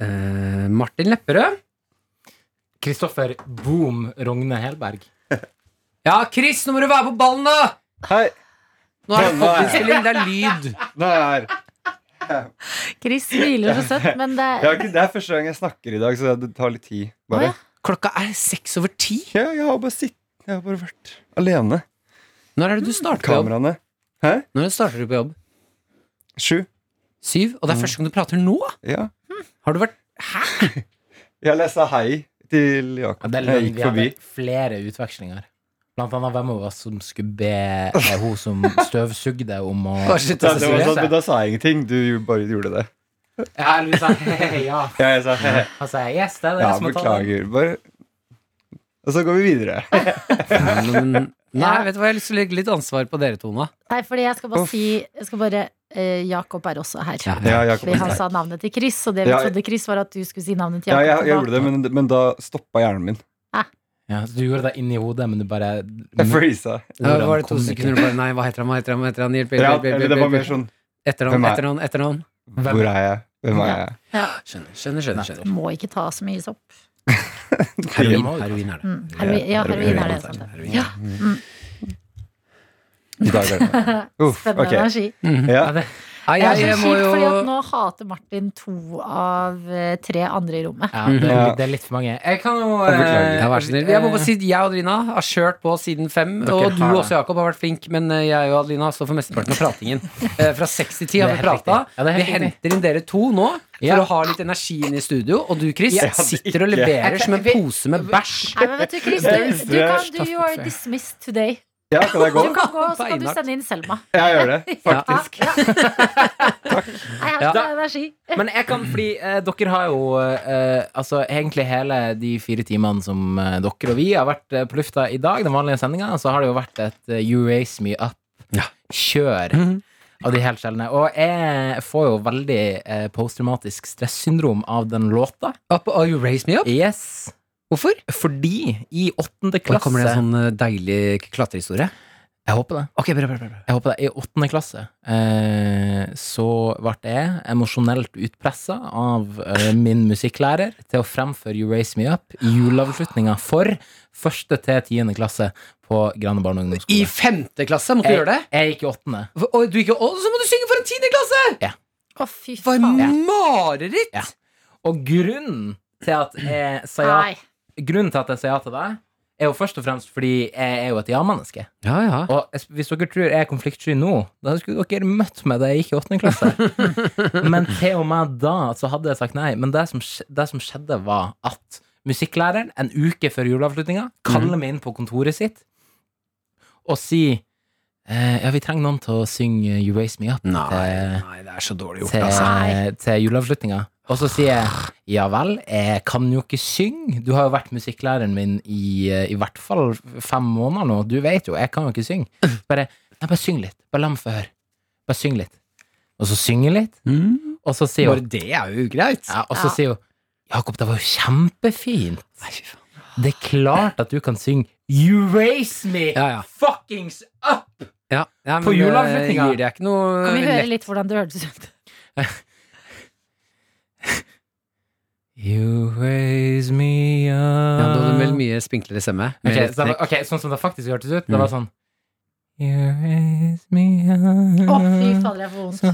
S3: Eh, Martin Lepperød.
S4: Kristoffer Boom Rogne Helberg.
S3: Ja, Chris, nå må du være på ballen, da!
S9: Hei!
S3: Nå er det
S9: Nå er jeg-
S3: popinnspilling, det er lyd.
S9: Nå er jeg her.
S2: Chris smiler så søtt, men det
S9: Jeg har ikke, det er første gang jeg snakker i dag, så det tar litt tid. Bare.
S2: Å,
S3: Klokka er seks over ti.
S9: Ja, jeg har bare sitt. Jeg har bare vært alene.
S3: Når er det du starter på jobb?
S9: Kameraene.
S3: Når starter du på jobb?
S9: Sju.
S3: Syv? Og det
S9: Mm.
S3: er første gang du prater nå?
S9: Ja.
S3: Har du vært
S9: Jeg leste hei til Jakob.
S4: Det er
S9: Jeg
S4: løgn.
S9: gikk
S4: Vi
S9: forbi.
S4: hadde flere utvekslinger. Blant annet hvem av oss som skulle be eh, hun som støvsugde, om å
S3: Hva skjedde?
S9: Ja, det var sånn, men da sa jeg ingenting. Du bare gjorde det.
S4: Ja, eller vi sa hei, ja.
S9: Ja, jeg sa hei.
S4: Han sa yes, det er det
S9: Ja,
S4: som må ta den.
S9: beklager. Bare Og så går vi videre.
S3: Nei, vet du hva, jeg har lyst til å legge litt ansvar på dere to nå.
S2: Nei, fordi jeg skal bare
S9: Uff.
S2: si jeg skal bare, eh, Jakob er også her.
S3: Ja,
S9: Ja, Jakob
S2: fordi
S9: er
S2: han
S9: her.
S2: sa navnet til Chris, og det vi
S9: Ja, jeg-
S2: trodde Chris var at du skulle si navnet til
S9: Ja,
S2: Jakob.
S9: jeg, jeg
S2: og
S9: gjorde det, men, men da stoppa hjernen min.
S4: Ja, så du gjorde det inni hodet, men du bare
S9: Jeg
S4: Mm.
S9: freeza.
S3: Ja,
S4: Hvordan
S3: var det to
S4: kom det
S3: sekunder bare Nei, hva heter han, hva heter han, hva heter han? Hjelp, hjelp,
S9: Ja,
S3: hjelp, hjelp,
S9: eller det
S3: hjelp,
S9: var
S3: hjelp,
S9: mer
S3: hjelp.
S9: sånn
S3: Etternavn,
S9: Hvem er-
S3: etternavn, etternavn.
S9: Hvor er jeg? Hvem er
S2: Ja.
S9: jeg?
S3: Skjønner, skjønner, skjønner. skjønner.
S2: da Må ikke ta så mye sopp.
S4: Heroin.
S3: Heroin, heroin er det.
S2: Mm. Heroin, ja, heroin er det. Sant? det.
S3: Heroin.
S2: Ja.
S9: I dag er det meg. Uff,
S2: Spennende
S9: ok.
S2: energi.
S9: Ja.
S4: Ja, det,
S3: Nei,
S2: Det er
S3: jeg,
S2: så
S3: jeg må
S2: kjipt,
S3: jo
S2: fordi at nå hater Martin to av eh, tre andre i rommet.
S4: ja, det, er, det er litt for mange. Jeg kan jo eh,
S9: Jeg beklager.
S3: ja, vær så snill. Jeg må bare si at jeg og Adelina har kjørt på siden fem.
S4: Dere
S3: og du
S4: har det.
S3: også, Jakob, har vært flink, men eh, jeg og Adelina står for mesteparten av pratingen. Eh, Fra seks til ti har
S4: Det
S3: vi
S4: er helt
S3: prata.
S4: riktig. Ja, det er
S3: vi
S4: helt riktig.
S3: henter inn dere to nå for
S4: Ja.
S3: å ha litt energi inn i studio. Og du, Chris,
S9: Jeg hadde
S3: sitter og
S9: ikke-
S3: leverer som en
S4: Jeg-
S3: pose med bæsj.
S2: Nei, men vet du, Chris,
S9: Jeg
S2: du,
S9: visste
S2: du
S9: det.
S2: kan do You are dismissed today.
S9: ja, kan jeg
S2: Du
S9: gå?
S2: kan gå, og så kan du
S3: Beinhardt.
S2: sende inn Selma.
S9: Jeg gjør det, faktisk.
S2: Nei, jeg har ikke energi.
S4: Men jeg kan, fordi eh, dere har jo eh, Altså egentlig hele de fire timene som eh, dere og vi har vært eh, på lufta i dag, den vanlige sendinga, så har det jo vært et eh, You Raise Me
S3: Ja. Mm.
S4: Up-kjør av de helt sjeldne. Og jeg får jo veldig eh, posttraumatisk stressyndrom av den låta.
S3: Up, oh, you raise me up?
S4: Yes.
S3: Hvorfor?
S4: Fordi i åttende
S3: Da
S4: klasse
S3: kommer det en sånn eh, deilig klatrehistorie.
S4: Jeg håper det.
S3: Ok, bra, bra, bra, bra.
S4: Jeg håper det. I åttende klasse eh, så ble jeg emosjonelt utpressa av eh, min musikklærer til å fremføre You Raise Me Up i juleavslutninga for første til tiende klasse på Grane barne- og
S3: I
S4: ungdomsskole.
S3: femte klasse måtte du
S4: Jeg,
S3: gjøre det?
S4: jeg gikk i åttende.
S3: Og du ikke, og så må du synge for en tiende klasse!
S2: Å, fy
S3: For
S2: faen.
S3: mareritt!
S4: Ja. Og grunnen til at jeg sa ja,
S2: Nei.
S4: grunnen til at jeg sa ja til deg, er jo først og fremst fordi jeg er jo et ja-menneske.
S3: Ja, ja.
S4: Og jeg- hvis dere tror jeg er konfliktsky nå, da skulle dere møtt meg da jeg gikk i åttende klasse. Men til og med da så hadde jeg sagt nei. Men det som, skj- det som skjedde, var at musikklæreren en uke før juleavslutninga kaller meg inn på kontoret sitt og sier eh, Ja, vi trenger noen til å synge You Raise Me Up til,
S3: det er så dårlig altså.
S4: til, eh, til juleavslutninga. Og så sier jeg ja vel, jeg kan jo ikke synge. Du har jo vært musikklæreren min i eh, i hvert fall fem måneder nå. Du vet jo, jeg kan jo ikke synge. Så Bare, nei, bare syng litt. Bare la meg få høre. Bare syng litt. Og så synger jeg litt,
S3: Mm.
S4: og så sier
S3: Bare
S4: hun
S3: det er jo ugreit.
S4: ja, Og
S2: Ja.
S4: så sier hun Jakob, det var jo kjempefint. Det er klart at du kan synge You raise me
S3: Ja, ja.
S4: fuckings up!
S3: Ja, ja,
S4: På
S3: men,
S4: juleavslutninga.
S3: eh, Gir det ikke noe
S2: Kan vi høre
S3: lett-
S2: litt hvordan det hørtes ut?
S4: You raise me up
S3: Ja, du hadde vel mye spinklere stemme.
S4: Ok,
S3: Mer
S4: så det var,
S3: trekk.
S4: ok, sånn som det faktisk hørtes ut.
S3: Mm.
S4: Det var sånn You raise me up
S2: Å, fy fader, jeg får vondt.
S4: so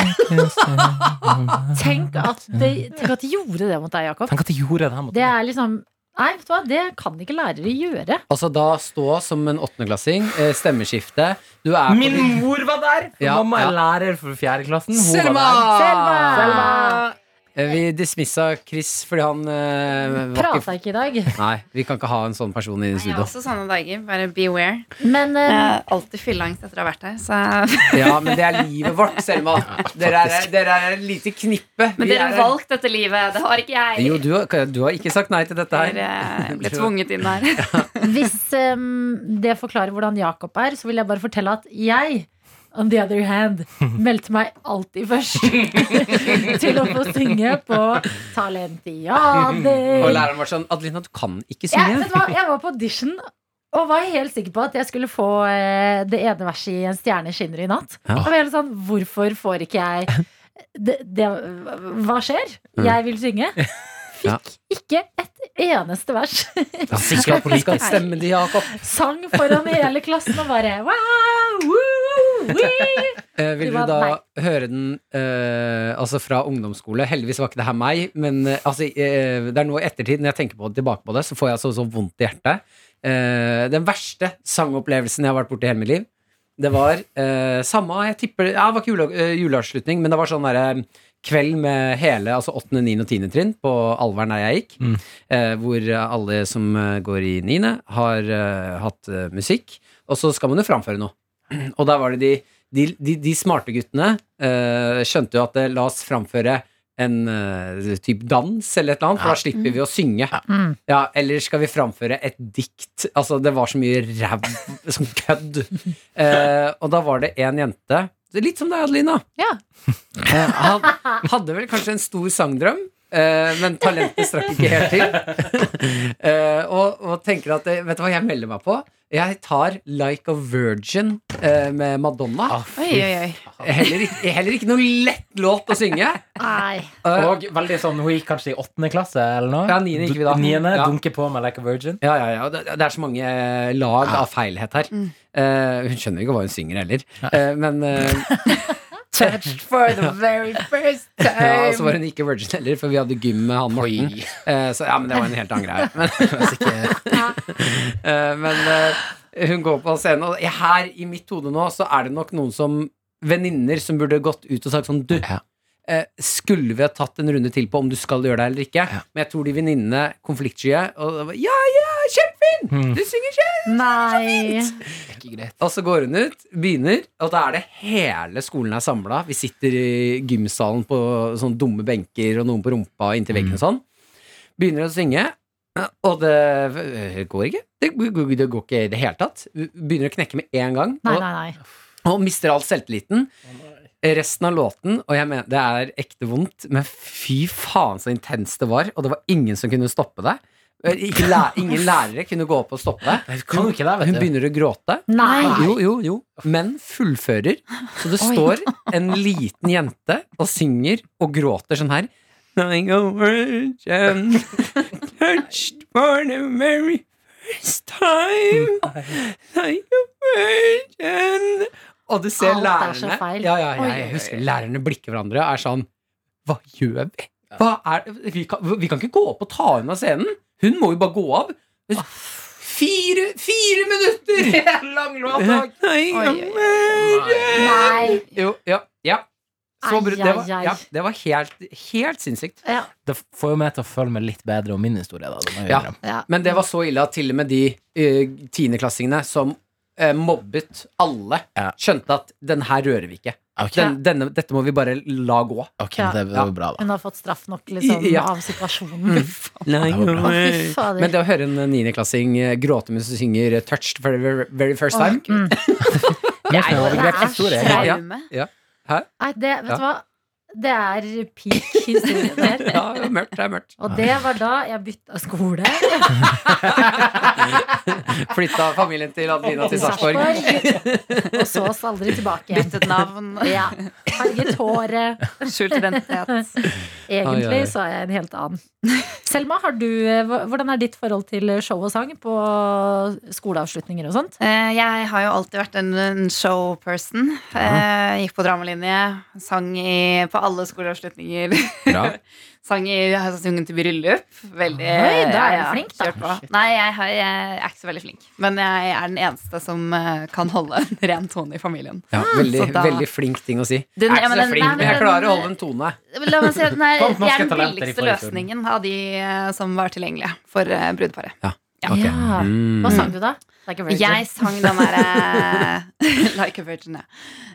S4: I can stand.
S2: Tenk at, det, tenk at de gjorde det mot deg, Jakob.
S4: Tenk at de gjorde det her mot
S2: Det
S4: meg.
S2: er liksom Nei, vet du hva, det kan ikke lærere gjøre.
S3: Altså, da stå som en åttendeklassing, eh, stemmeskifte Du er på
S4: Min
S3: din-
S4: mor var der! for
S3: Ja,
S4: mamma
S3: ja.
S4: er lærer for fjerdeklassen. Hun var
S3: Selma!
S4: der.
S2: Selma!
S4: Selma!
S3: Eh, Vi dismissa Chris fordi han eh, var
S2: Prata
S3: ikke
S2: ikke i dag.
S3: Nei, vi kan ikke ha en sånn person i
S5: Jeg
S3: studio.
S5: har også sånne dager. Bare beware.
S2: Men
S5: Jeg
S2: eh,
S5: har alltid fylleangst etter å ha vært her. Så.
S3: Ja, men det er livet vårt, Selma. Dere er, dere er et lite knippe. Vi
S5: Men dere
S3: er-
S5: har valgt dette livet. Det har ikke jeg.
S3: Jo, du har, du har ikke sagt nei til dette
S5: Dere,
S3: her.
S5: eh, ble tvunget inn der.
S2: hvis em, det forklarer hvordan Jakob er, så vil jeg bare fortelle at jeg On the other hand meldte meg alltid først til å få synge på Talentiader.
S3: Og læreren var sånn Adelina, du kan ikke
S2: Jeg,
S3: synge.
S2: vet du hva, jeg var på audition og var helt sikker på at jeg skulle få eh, det ene verset i En stjerne skinner i natt.
S3: Ja.
S2: Og jeg var helt sånn, Hvorfor får ikke jeg det, det, Hva skjer? Jeg vil synge.
S3: Ja.
S2: Fikk ikke et eneste vers.
S3: Ja, skal, skal stemme til Jakob.
S2: Sang foran hele klassen og bare wow, woo, wee.
S3: Eh,
S2: Du
S3: vil du
S2: var-
S3: da
S2: nei.
S3: høre den eh, altså fra ungdomsskole? Heldigvis var ikke det her meg, men eh, altså, eh, det er nå i ettertid, når jeg tenker på, tilbake på det, så får jeg altså så, så vondt i hjertet. Eh, den verste sangopplevelsen jeg har vært borti i hele mitt liv, det var eh, samme Jeg tipper ja, Det var ikke jule, eh, juleavslutning, men det var sånn derre kveld med hele altså 8., 9. og 10. trinn på Alveren der jeg gikk, eh, hvor alle som eh, går i 9., har eh, hatt eh, musikk, og så skal man jo framføre noe. Og der var det de de, de, de smarte guttene eh, skjønte jo at eh, la oss framføre en eh, typ dans eller et eller annet, for da slipper vi å synge.
S2: Mm.
S3: Ja, eller skal vi framføre et dikt? Altså, det var så mye ræv som kødd. Eh, og da var det en jente det er Litt som deg, Adelina.
S2: Ja.
S3: Eh, han hadde vel kanskje en stor sangdrøm, eh, men talentet strakk ikke helt til. Eh, og, og tenker at eh, Vet du hva jeg melder meg på? Jeg tar Like a Virgin eh, med Madonna.
S5: Oi, oi, oi.
S3: Heller ikke, heller ikke noe lett låt å synge.
S2: Nei.
S3: Uh,
S4: Og veldig sånn, hun gikk kanskje i åttende klasse eller noe?
S3: Ja, niende gikk vi da.
S4: Niende,
S3: Ja.
S4: dunker på med like a virgin.
S3: ja, ja, ja. Det, det er så mange lag av feilhet her. Eh, hun skjønner ikke hva hun synger heller. Eh, men eh,
S2: Touched for the very first
S5: Eh,
S3: ja,
S5: altså
S3: og så
S2: time.
S3: var hun ikke virgin heller, for vi hadde gym med han Morten. Eh, så ja, men det var en helt annen greie. Men, Eh, men eh, hun går på scenen, og her i mitt hode nå, så er det nok noen som Venninner som burde gått ut og sagt sånn Du,
S4: Ja.
S3: eh, skulle vi ha tatt en runde til på om du skal gjøre det eller ikke? Men jeg tror de venninnene konfliktsky og det var, Ja, ja, kjempefin! Ah, Du synger kjempe
S2: Nei.
S3: Hmm. Og så går hun ut, begynner, og da er det hele skolen er samla. Vi sitter i gymsalen på sånne dumme benker, og noen på rumpa inntil veggen
S2: Hmm.
S3: og sånn. Begynner å synge, og det øh, går ikke. Det, går- det går ikke i det hele tatt. Begynner å knekke med en gang,
S2: Nei,
S3: og,
S2: nei, nei.
S3: og mister all selvtilliten. Resten av låten, og jeg mener det er ekte vondt, men fy faen så intenst det var, og det var ingen som kunne stoppe det. Eh, Ikke læ- ingen lærere kunne gå opp og stoppe det.
S4: Kan du ikke det,
S3: Hun
S4: vet du?
S3: begynner å gråte.
S2: Nei.
S3: Jo, jo, jo. Men fullfører. Så det står en liten jente og synger og gråter sånn her. Nothing overcome, touched for the very first time. Nothing overcome. Og du ser
S2: Alt er så
S3: lærerne
S2: feil.
S3: Ja, ja,
S5: Oi,
S3: jeg,
S5: oi, oi.
S3: husker lærerne blikker hverandre og er sånn Hva gjør vi? Hva er, vi, kan, vi kan ikke gå opp og ta henne av scenen. Hun må jo bare gå av. Fire, fire minutter!
S4: Lang
S3: Nei,
S5: Oi, oi,
S2: Nei.
S3: Jo, ja, ja. Så
S2: Ai,
S3: bru- det, var,
S2: ai, ai.
S3: ja, det var helt, helt sinnssykt.
S2: Ja.
S4: Det får jo meg til å føle meg litt bedre om min historie, da. Det må jeg
S3: Ja.
S4: innrømme.
S2: Ja.
S3: Men det var så ille at til og med de eh, tiendeklassingene som eh, mobbet alle,
S4: Ja.
S3: skjønte at den her rører vi ikke.
S4: Ok,
S3: Den, denne, dette må vi bare la gå.
S4: ok,
S2: Ja.
S4: det var jo bra, da.
S2: Hun har fått straff nok liksom,
S3: Ja.
S2: av situasjonen. Å, fy
S3: Men
S2: fader.
S3: det å høre en niendeklassing eh, gråte mens du synger eh, 'Touched for the very- very first time'
S2: Mm.
S4: Det er jo
S2: det er
S4: overgrepshistorie.
S2: så-
S5: Traume.
S2: Nei, det, vet
S3: Ja.
S2: du hva? Det er peak historien der.
S3: Ja, det er mørkt, det er mørkt.
S2: Og det var da jeg bytta skole.
S3: Flytta familien til Adelina til Sarpsborg.
S2: Sarpsborg, Og så oss aldri tilbake igjen.
S5: Byttet navn.
S2: Ja. Farget håret.
S5: Skjult identitet.
S3: Ai, ai, ai.
S2: Egentlig så er jeg en helt annen. Selma, har du, eh, hva- hvordan er ditt forhold til show og sang på skoleavslutninger og sånt?
S5: Eh, Jeg har jo alltid vært en- en showperson. Eh, Gikk på dramalinje, sang i, på på alle skoleavslutninger.
S3: Bra.
S5: Sang i jeg har sunget til bryllup. Veldig
S2: Oi, da er du flink, da.
S5: kjørt på. Nei, jeg, har, jeg er ikke så veldig flink. Men jeg er den eneste som eh, kan holde en ren tone i familien.
S3: Ja, veldig,
S5: Så da-
S3: veldig flink ting å si.
S5: Den-
S3: jeg er ikke
S5: ja, men
S3: så
S5: den-
S3: flink,
S5: nei,
S3: men jeg
S5: men
S3: klarer å
S5: den-
S3: holde en tone.
S5: La meg si at den er,
S4: Kom, norske
S5: jeg er den
S4: talenter i
S5: billigste
S4: forrige tur.
S5: løsningen av de eh, som var tilgjengelige for eh, brudeparet.
S3: Ok.
S2: Ja.
S3: Mm.
S2: Hva sang du, da? Like a virgin.
S5: Jeg sang den derre Like a Virgin, ja.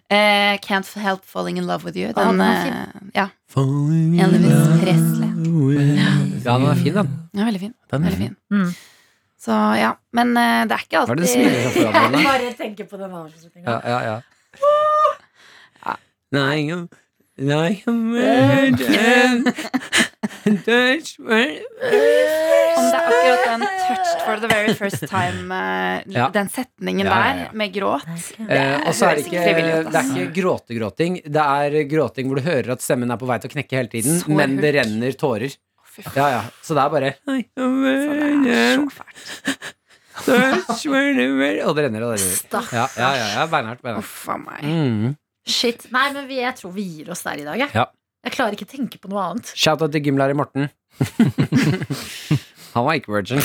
S5: Eh, can't Help Falling in Love With You.
S2: den
S5: Den,
S2: var
S5: eh, ja. Elvis Presley.
S3: Ja, den er fin, den.
S5: Den er veldig fin.
S4: Den er
S5: Veldig fin.
S2: Mm.
S5: Så ja, men eh, det er ikke
S3: Hva er det du
S5: alltid
S3: smiler sånn foran meg? da?
S2: Bare tenker på den avslutninga.
S3: Ja, ja, ja. Nei, jeg- Nei, jeg- Touch me.
S5: Om det er akkurat den 'touched for the very first time', eh,
S3: Ja.
S5: den setningen
S3: Ja, ja, ja.
S5: der, med gråt
S3: Eh, og så er det
S5: høres
S3: ikke,
S5: ikke frivillig ut,
S3: det er
S5: ass.
S3: ikke gråtegråting. Det er gråting hvor du hører at stemmen er på vei til å knekke hele tiden,
S5: Så
S3: men det
S5: hult.
S3: renner tårer.
S5: Fy faen,
S3: Ja, ja. Så det er bare
S5: det er så fælt.
S3: Touch me, baby. Og det renner og det renner.
S2: Stakkars.
S3: Ja, ja, ja, ja. Beinhardt. beinhardt.
S5: Uff a meg.
S3: Mm.
S2: Shit. Nei, men vi, jeg tror vi gir oss der i dag, jeg.
S3: Ja.
S2: Jeg klarer ikke tenke på noe annet.
S3: Shout-out til gymlærer Morten. Han var ikke virgin.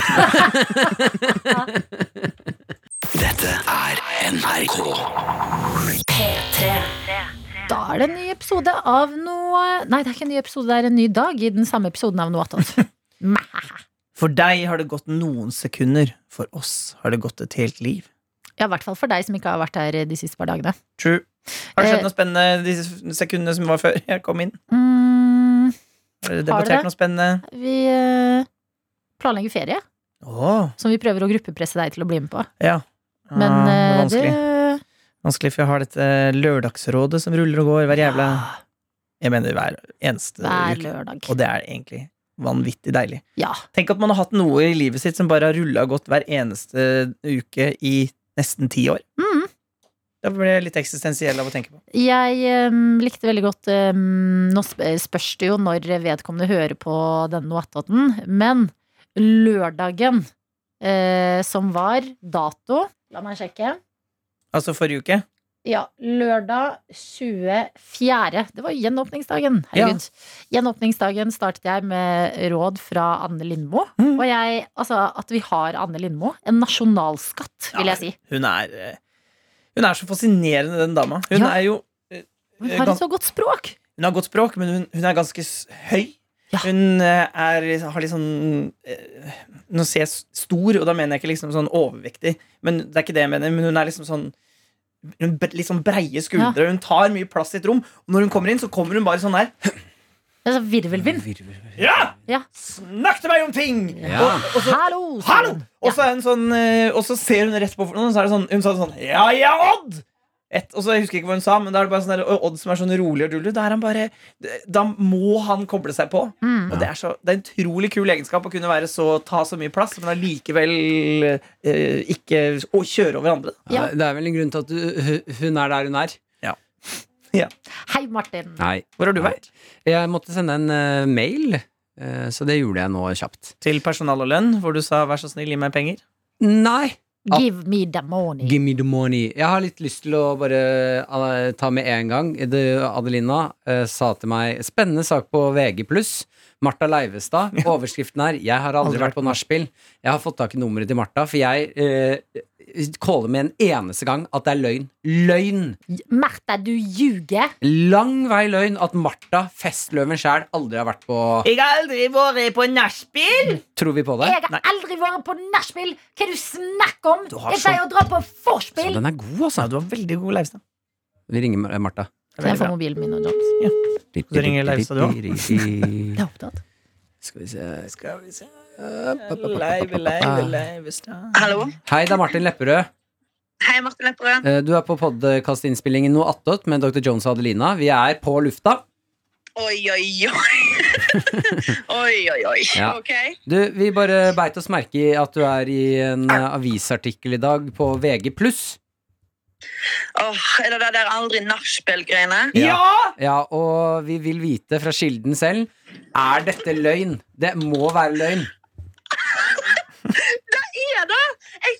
S2: Da er det en ny episode av noe Nei, det er ikke en ny episode, det er en ny dag i den samme episoden av noe attåt.
S8: For deg har det gått noen sekunder. For oss har det gått et helt liv.
S2: Ja, i hvert fall for deg som ikke har vært her de siste par dagene.
S8: True. Har det
S2: Eh,
S8: skjedd noe spennende de s- sekundene som var før jeg kom inn?
S2: Mm,
S8: Har dere
S2: Har det det?
S8: debattert noe spennende?
S2: vi eh, planlegger ferie,
S8: Åh,
S2: som vi prøver å gruppepresse deg til å bli med på.
S8: ja. Ah,
S2: Men
S8: det
S2: eh,
S8: var vanskelig.
S2: det
S8: vanskelig, for jeg har dette lørdagsrådet som ruller og går hver jævla Jeg mener hver eneste
S2: hver
S8: uke.
S2: lørdag.
S8: Og det er egentlig vanvittig deilig.
S2: Ja.
S8: Tenk at man har hatt noe i livet sitt som bare har rulla og gått hver eneste uke i nesten ti år.
S2: Mm.
S8: Da blir jeg litt eksistensiell av å tenke på.
S2: Jeg eh, likte veldig godt eh, Nå sp- spørs det jo når vedkommende hører på denne noataten, men lørdagen eh, som var dato La meg sjekke.
S8: Altså forrige uke.
S2: Ja, lørdag 24. Det var gjenåpningsdagen. Herregud. Gjenåpningsdagen startet jeg med råd fra Anne Lindmo.
S8: Mm.
S2: Og jeg, altså, at vi har Anne Lindmo. En nasjonalskatt, vil jeg si.
S8: Hun er eh, Hun er så fascinerende, den dama. Hun
S2: Ja.
S8: er jo
S2: Hun
S8: eh,
S2: har
S8: gans-
S2: et så godt språk.
S8: Hun har godt språk, men hun, hun er ganske s- høy.
S2: Ja.
S8: Hun eh, er, har litt sånn eh, Nå sier jeg s- stor, og da mener jeg ikke liksom sånn overvektig, men det er ikke det jeg mener. Men hun er liksom sånn hun bre- Litt sånn breie skuldre. Hun tar mye plass i et rom. Og når hun kommer inn, så kommer hun bare sånn her.
S2: Det er så
S8: Mm.
S2: virvelvind.
S8: Ja!
S2: Ja.
S8: Snakk til meg om ting!
S3: Ja.
S8: Og, og så
S2: Hallo! sa
S8: Hallo!
S2: hun.
S8: Og så er hun sånn eh, Og så ser hun rett på noen, og så er det sånn, hun sa sånn Ja, ja, Odd! Et, og så Jeg husker ikke hva hun sa, men da er det bare sånn der, og Odd som er sånn rolig og dullu. Da er han bare Da må han koble seg på.
S2: Mm.
S8: Og det er, så, det er en utrolig kul egenskap å kunne være så, ta så mye plass, men allikevel eh, ikke å kjøre over andre.
S2: Ja.
S3: Det er vel en grunn til at du, hun er der hun er.
S2: Hei, Martin.
S3: Nei.
S8: Hvor har du
S3: Nei.
S8: vært?
S3: Jeg måtte sende en eh, mail, eh, så det gjorde jeg nå kjapt.
S8: Til personal og lønn, hvor du sa 'vær så snill, gi meg penger'.
S3: Nei!
S2: Give me the money.
S3: Give me the money. Jeg har litt lyst til å bare eh, ta med en gang. Det- Adelina eh, sa til meg Spennende sak på VG+. Martha Leivestad. Overskriften er 'Jeg har aldri, vært på nachspiel'. Jeg har fått tak i nummeret til Martha, for jeg eh, caller med en eneste gang at det er løgn. Løgn!
S2: Märtha, du ljuger.
S3: Lang vei løgn at Martha, festløven sjæl, aldri har vært på
S8: Jeg har aldri vært på nachspiel!
S3: Tror vi på det?
S2: Jeg har aldri vært på nachspiel. Hva er det du snakker om?
S8: Du har sånn-
S2: Jeg pleier å dra på
S3: Så
S2: vorspiel.
S3: den er god, altså.
S8: Nei, du var veldig god, Leivstad.
S3: Vi ringer Mar- Martha.
S8: Det er
S2: Jeg
S8: veldig
S2: får
S8: bra.
S2: mobilen min og John.
S8: Så ringer Leivstad, du
S2: Jeg er opptatt.
S3: Skal vi se
S8: Skal vi se Leiv, leiv, Leivestad.
S10: Hallo.
S3: Hei, det er Martin Lepperød.
S10: Hei, Martin Lepperød.
S3: Eh, Du er på podkastinnspillingen Noe attåt med Dr. Jones og Adelina. Vi er på lufta.
S10: Oi, oi, oi. oi, oi, oi.
S3: Ja.
S10: Ok.
S3: Du, vi bare beit oss merke i at du er i en eh, avisartikkel i dag på VG+.
S10: Åh, er det det der aldri nachspiel-greiene?
S3: Ja, og vi vil vite fra kilden selv Er dette løgn? Det må være løgn.
S10: Er det? Jeg,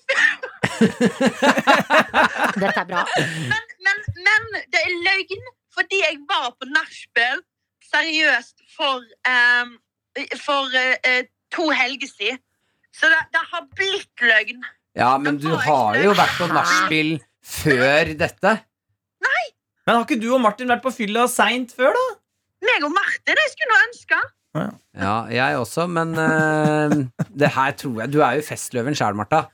S2: Dette er bra.
S10: men, men det er løgn fordi jeg var på nachspiel
S7: seriøst for, ehm, for eh, eh, to helger siden. Så det, det har blitt løgn.
S3: Ja, men du har jo vært på nachspiel før dette.
S4: Men har ikke du og Martin vært på fylla seint før, da?
S7: Meg og Martin, jeg skulle nå ønske.
S3: Ja, jeg også, men eh, det her tror jeg Du er jo festløven sjæl, Marta.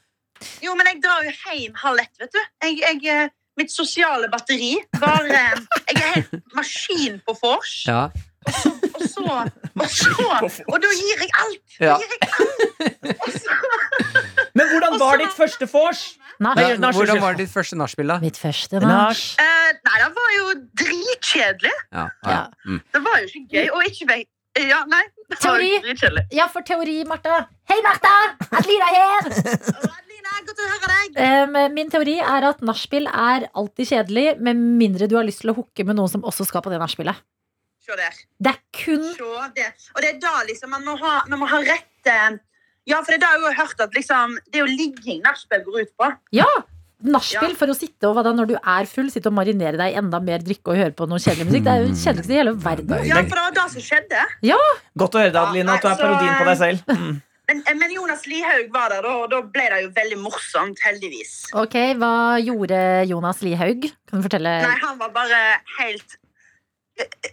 S7: Jo, men jeg drar jo hjem halv ett, vet du. Jeg, jeg, eh, mitt sosiale batteri bare Jeg er helt maskin på vors.
S3: Ja.
S7: Og så, og så Og da gir jeg alt! Da
S3: Ja.
S7: gir jeg alt. Og så,
S4: Men hvordan var ditt første vors?
S2: Nei,
S3: Ja, hvordan var ditt første nachspiel, da?
S2: mitt første nach.
S7: eh, nei, det var jo dritkjedelig.
S3: Ja, ja.
S2: Ja.
S3: Mm.
S7: Det var jo ikke gøy. Og ikke vei... Ja, nei. Det var
S2: Teori.
S7: jo dritkjedelig.
S2: Ja, for teori, Marta. Hei, Marta! Adelina her!
S7: Å, Adelina, godt å høre deg.
S2: Em, min teori er at nachspiel er alltid kjedelig, med mindre du har lyst til å hooke med noen som også skal på det nachspielet.
S7: Se der.
S2: Det er kun
S7: Se det. Og det er da liksom man må ha, man må ha rett eh, Ja, for det er da jeg har hørt at liksom Det er jo ligging nachspiel går ut på.
S2: Ja! Nachspiel
S7: Ja.
S2: for å sitte og hva da, når du er full, sitte og marinere deg i enda mer drikke og høre på noe kjedelig musikk. Det er jo det kjedeligste i hele verden.
S7: Ja, for det var det som skjedde.
S4: Godt å høre deg, Adeline, at du er
S7: Altså,
S4: parodien på deg selv.
S7: Men, men Jonas Lihaug var der, da, og da ble det jo veldig morsomt, heldigvis.
S2: Ok, Hva gjorde Jonas Lihaug? Kan du fortelle?
S7: Nei, han var bare helt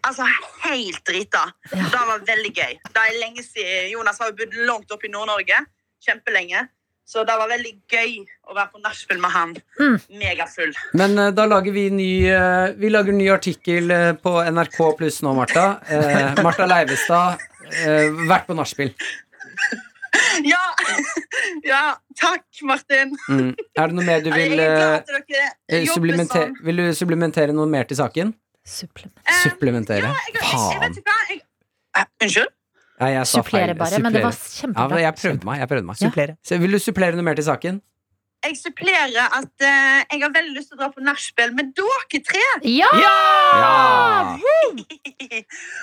S7: Altså helt drita.
S2: Ja.
S7: Det var veldig gøy. Det er lenge siden Jonas har jo bodd langt oppe i Nord-Norge. Kjempelenge. Så det var veldig gøy å være på nachspiel med han.
S2: Mm.
S7: Megafull.
S3: Men eh, da lager vi ny eh, Vi lager ny artikkel eh, på NRK pluss nå, Marta. Eh, Marta Leivestad, eh, vært på nachspiel.
S7: Ja! ja! Takk, Martin.
S3: Mm. Er det noe mer du vil
S7: Jeg er glad
S3: eh,
S7: at dere
S3: eh,
S7: jobber
S3: supplemente-
S7: sånn.
S3: Vil du supplementere noe mer til saken?
S2: Supple-
S7: Eh,
S3: Supplementere?
S7: jeg, jeg, jeg
S3: Faen.
S7: vet ikke hva. Jeg, Eh, unnskyld?
S3: Nei, jeg sa feil.
S2: Supplere bare, men det var
S3: Supplere. Ja, men
S2: kjempebra.
S3: jeg prøvde meg. Jeg prøvde meg.
S2: Ja.
S4: Supplere.
S3: Så vil du supplere noe mer til saken?
S7: Jeg supplerer at eh, jeg har veldig lyst til å dra på nachspiel med dere tre.
S2: Ja!
S3: Ja!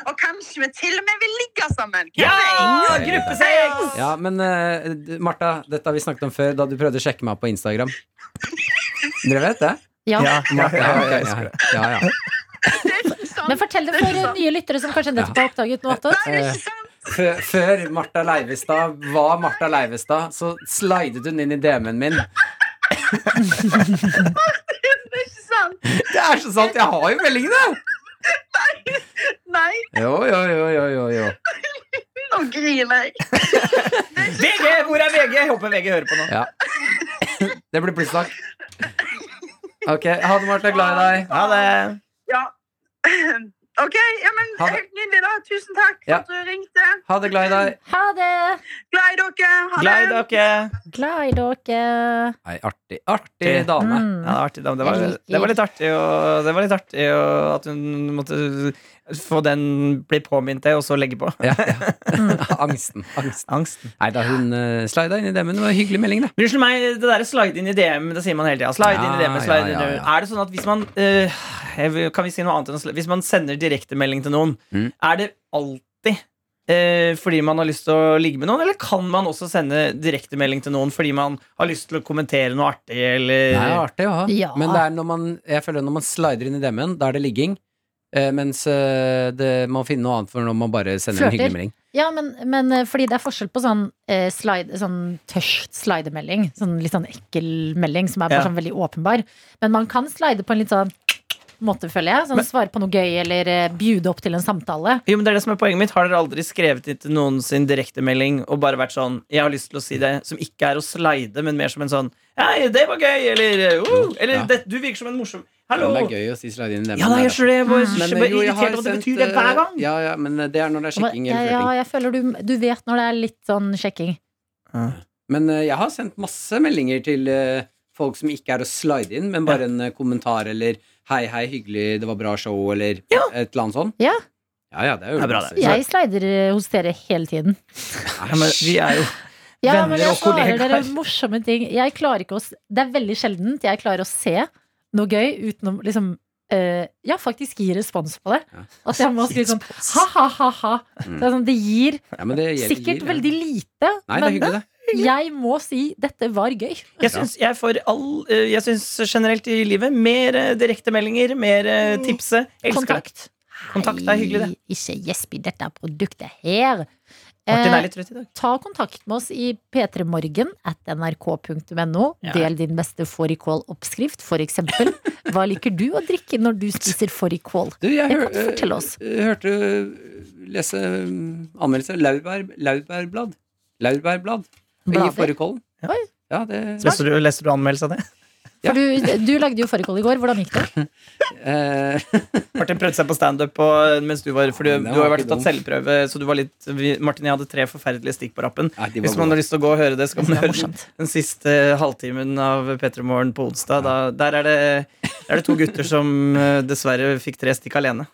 S7: og kanskje vi til og med vil ligge sammen. Hvem
S4: Ja!
S7: vet?
S4: Gruppesex!
S3: Ja, men eh, d- Marta, dette har vi snakket om før, da du prøvde å sjekke meg på Instagram. Dere vet det?
S2: Ja.
S3: Marta,
S11: ja, ja, jeg
S3: ok,
S11: husker
S3: ja, ja, ja.
S7: Det er ikke sant.
S2: Men fortell det for eh, nye lyttere som kanskje nettopp har oppdaget noe annet.
S7: Det er ikke sant.
S3: Før, Eh, før Marta Leivestad var Marta Leivestad, så slidet hun inn i DM-en min.
S7: Det er ikke sant.
S3: Det er så sant! Jeg har jo meldingene!
S7: Nei,
S3: Jo, jo, jo, jo, jo, jo.
S7: nå griner jeg.
S4: VG, hvor er VG? Jeg håper VG hører på nå.
S3: Ja. Det blir plutselig. Ok, ha det, Marta. Glad i deg.
S4: Ha det.
S7: Ja. OK, ja, men
S3: Ha det.
S7: helt nydelig, da. Tusen takk for
S3: Ja.
S7: at du ringte.
S3: Ha det, glad i deg.
S2: Ha det!
S7: Glad i dere.
S4: Glad
S7: Ha
S4: i
S7: det.
S4: dere.
S2: Glad i dere.
S3: Nei, artig. Artig dame.
S4: Ja, det,
S2: Mm.
S4: var artig, da. det, var,
S2: Jeg liker-
S4: det var litt artig, og, det var litt artig og at hun måtte få den bli påminnet det, og så legge på.
S3: Ja, ja. Angsten. Angsten.
S4: Angsten.
S3: Nei da, hun uh, slida inn i DM-en. Det var en hyggelig melding, det.
S4: Unnskyld meg, det derre slide inn i DM, det sier man hele tida. Slide inn i DM,
S3: Ja, ja,
S4: slide inn i DM.
S3: ja, ja.
S4: Er det sånn at hvis man øh, jeg vil- Kan vi si noe annet enn å sli- Hvis man sender direktemelding til noen,
S3: Mm.
S4: er det alltid øh, fordi man har lyst til å ligge med noen, eller kan man også sende direktemelding til noen fordi man har lyst til å kommentere noe artig,
S3: Det
S4: eller
S3: er artig å ha.
S2: Ja.
S3: Men det er når man, jeg føler når man slider inn i DM-en, da er det ligging. Eh, mens eh, det, man finner noe annet for når man bare sender en
S2: Flørter.
S3: hyggelig melding.
S2: Ja, men, men eh, fordi det er forskjell på sånn, eh, slide, sånn tørst slidemelding. Sånn litt sånn ekkel melding som er bare
S4: Ja.
S2: sånn veldig åpenbar. Men man kan slide på en litt sånn måte, føler jeg. Sånn svare på noe gøy eller eh, bjude opp til en samtale.
S4: Jo, men det er det som er poenget mitt Har dere aldri skrevet inn til noen sin direktemelding og bare vært sånn 'Jeg har lyst til å si det', som ikke er å slide, men mer som en sånn 'Hei, det var gøy', eller uh, Eller
S3: Ja.
S4: det, 'Du virker som en morsom
S3: Men
S4: Hallo'.
S3: det er gøy å si slide inn i DM-en.
S4: Ja, da,
S3: der,
S4: jeg skjønner det. Jeg bare,
S3: Men,
S4: jeg
S3: eh,
S4: bare
S3: jo, jeg har
S4: irritert over at det
S3: sendt,
S4: betyr det hver gang.
S3: eh, Ja, ja, men eh, det er når det er sjekking
S2: ja,
S3: eller
S2: ja,
S3: flørting.
S2: jeg føler du, du vet når det er litt sånn sjekking.
S3: Men eh, jeg har sendt masse meldinger til eh, folk som ikke er å slide inn, men bare en eh, kommentar eller 'hei, hei, hyggelig, det var bra show', eller et eller annet sånt.
S2: Ja.
S3: ja, ja, det er jo
S4: Det er bra,
S3: masse.
S4: det.
S2: Jeg slider eh, hos dere hele tiden.
S4: Ja, men vi er jo
S2: Ja,
S4: Venner
S2: men jeg
S4: og kollegaer.
S2: svarer dere morsomme ting. Jeg klarer ikke å s- Det er veldig sjeldent jeg klarer å se noe gøy utenom liksom eh, Ja, faktisk gi respons på det.
S3: Ja.
S2: At jeg må skrive sånn ha-ha-ha-ha.
S3: Mm.
S2: Det, er sånn, det gir
S3: Ja, men det gir-
S2: sikkert
S3: gir-
S2: veldig lite,
S3: Nei, det er
S2: men
S3: hyggelig, det.
S2: jeg må si dette var gøy.
S4: Jeg syns jeg får all eh, Jeg syns generelt i livet mer eh, direktemeldinger, mer eh, tipse. Elsker det.
S2: Kontakt.
S8: Kontakt er hyggelig, det.
S2: Ikke gjesp i dette produktet her.
S8: Martin
S2: Eh,
S8: er litt trøtt i dag.
S2: Ta kontakt med oss i p3morgen at nrk.no.
S8: Ja.
S2: Del din beste fårikål-oppskrift, for eksempel. Hva liker du å drikke når du spiser fårikål?
S3: Du, jeg
S2: Det
S3: hør,
S2: kan du fortelle oss.
S3: eh, hørte du lese mm, anmeldelse Laurbær, Laurbærblad. Laurbærblad. I
S2: Blader?
S3: fårikålen.
S8: Oi.
S3: Ja, det
S8: Leste du, leste du anmeldelse av det?
S3: Ja.
S2: For du, du lagde jo fårikål i går. Hvordan gikk det?
S3: eh,
S8: Martin prøvde seg på standup og- mens du var For du,
S3: Den
S8: du har jo
S3: var
S8: vært
S3: ikke
S8: tatt
S3: dum.
S8: selvprøve, så du var litt vi, Martin, jeg hadde tre forferdelige stikk på rappen.
S3: nei, de var
S8: Hvis man har
S3: gode.
S8: lyst til å gå og høre det, så kan
S2: Det
S8: man
S2: var
S8: høre den,
S2: morsomt.
S8: den siste halvtimen av P3 Morgen på onsdag. Da, der er det, der er det to gutter som eh, dessverre fikk tre stikk alene.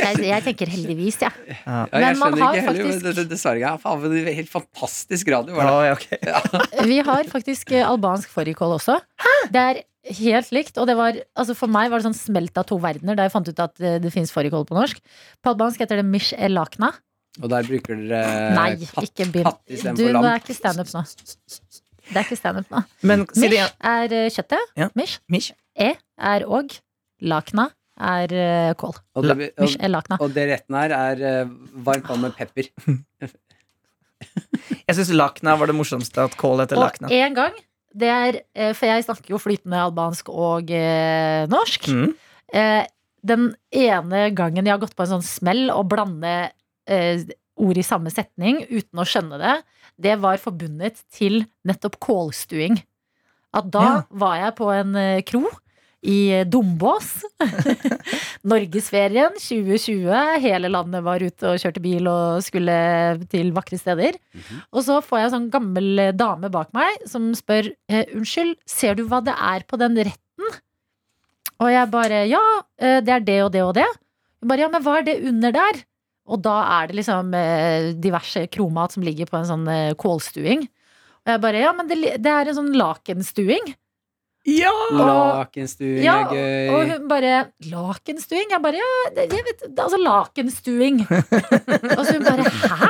S2: Jeg, jeg tenker heldigvis, jeg. Ja.
S3: ja, jeg
S2: Men man
S3: skjønner
S2: har
S3: ikke heller, men
S2: faktisk-
S3: det- det- Dessverre. Ja, faen, men det var helt fantastisk radio. Var det.
S8: Ja, ja, ok.
S2: Vi har faktisk eh, albansk fårikål også. Det er helt likt. Og det var, altså for meg var det sånn smelt av to verdener da jeg fant ut at eh, det fins fårikål på norsk. På albansk heter det mish elakna.
S3: Og der bruker dere
S2: Nei,
S3: Eh, katt-
S2: ikke begynn.
S3: katt
S2: Du,
S3: istedenfor
S2: nå
S3: lam.
S2: er ikke standup nå. Det er ikke standup nå.
S8: Men si det
S2: Mish
S8: igjen.
S2: er eh, kjøttet.
S8: Ja.
S2: Mish.
S8: Mish.
S2: E er og. Lakna er eh, kål.
S3: Og, det,
S2: Mish
S3: og,
S2: er lakna.
S3: og det retten her er eh, varmt vann med pepper.
S8: Jeg syns lakna var det morsomste at kål heter lakna.
S2: Og en gang, det er eh, For jeg snakker jo flytende albansk og eh, norsk.
S8: Mm.
S2: Eh, den ene gangen jeg har gått på en sånn smell og blande eh, ord i samme setning uten å skjønne det, det var forbundet til nettopp kålstuing. At da
S8: Ja.
S2: var jeg på en eh, kro i eh, Dombås. Norgesferien 2020. Hele landet var ute og kjørte bil og skulle til vakre steder. Og så får jeg en sånn gammel eh, dame bak meg som spør eh, Unnskyld, ser du hva det er på den retten? Og jeg bare Ja, eh, det er det og det og det. Hun bare ja, men hva er det under der? Og da er det liksom eh, diverse kromat som ligger på en sånn eh, kålstuing. Og jeg bare ja, men det, li- det er en sånn lakenstuing.
S3: Lakenstuing
S2: Ja,
S3: er gøy.
S2: Og hun bare 'Lakenstuing?' Jeg bare 'ja, det, jeg vet det, er Altså lakenstuing'. og så hun bare 'hæ?'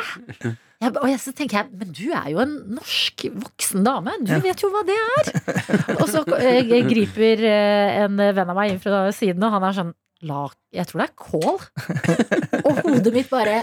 S2: Jeg, ba- og jeg, så tenker jeg 'men du er jo en norsk voksen dame, du vet jo hva det er'. og så eh, griper eh, en venn av meg inn fra siden, og han er sånn La, jeg tror det er kål. og hodet mitt bare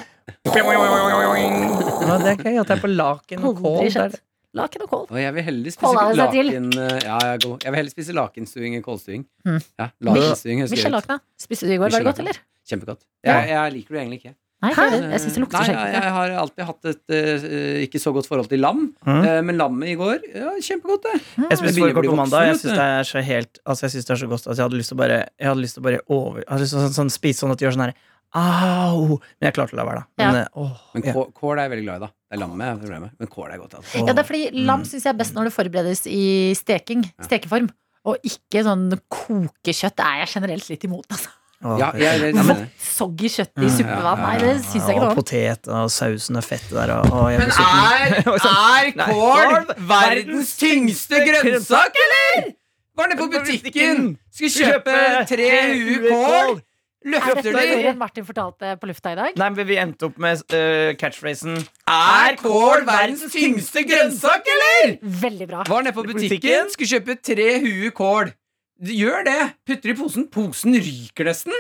S8: Ja, det er gøy at det er på laken og
S2: Aldri
S8: kål. Der.
S2: skjønt. Laken og kål.
S3: Og jeg vil heller spise
S2: Kåla det seg til.
S3: laken eh, ja, jeg, er god. jeg vil heller spise lakenstuing enn kålstuing.
S2: Mm.
S3: Ja, lakenstuing høres
S2: Michel
S3: gøy ut.
S2: Lakna, spiste du i går? Var det godt,
S3: Michelakna.
S2: eller?
S3: Kjempegodt. Jeg, jeg liker det egentlig ikke. Eh,
S2: Nei, jeg, jeg syns det
S3: Nei,
S2: lukter
S3: jeg,
S2: skjegg.
S3: jeg har alltid hatt et eh, ikke så godt forhold til lam,
S8: Mhm.
S3: eh, men lammet i går ja, Kjempegodt, det.
S2: Mm.
S8: Jeg
S3: Det
S8: spiste
S3: begynner å
S8: fårikål
S3: bli
S8: på mandag. Jeg
S3: voksen,
S8: syns det er så helt Altså jeg synes det er så godt at jeg hadde lyst til å bare Jeg hadde lyst til å bare over jeg hadde lyst til å sånn, sånn, Spise sånn at det gjør sånn her Au! Men jeg klarte å la være, da. Men, eh, åh,
S3: Men
S8: ja.
S3: kål, kål er jeg veldig glad i, da. Det er lammet jeg har problemer med. Men kål er godt. Altså.
S2: Ja, det er fordi lam syns jeg er best når det forberedes i steking. Stekeform. Og ikke sånn kokekjøtt er jeg generelt litt imot, altså.
S8: Åh,
S3: Ja, jeg, jeg,
S2: Sånn
S3: men,
S2: soggy kjøtt i suppevann. Nei, det syns jeg ikke
S8: og
S2: noe om.
S8: potet og sausen og fettet der og, og jeg blir sulten.
S3: er, er kål verdens tyngste grønnsak, eller? Var nede på butikken, skulle kjøpe tre huer
S2: Er
S3: kål.
S2: dette
S3: Løfter de
S2: historien Martin fortalte på lufta i dag?
S8: Nei, men vi endte opp med eh, catchphrasen
S3: Er kål verdens tyngste grønnsak, eller?
S2: Veldig bra.
S3: Var nede på butikken, skulle kjøpe tre huer kål. Du Gjør det. Putter i posen. Posen ryker nesten.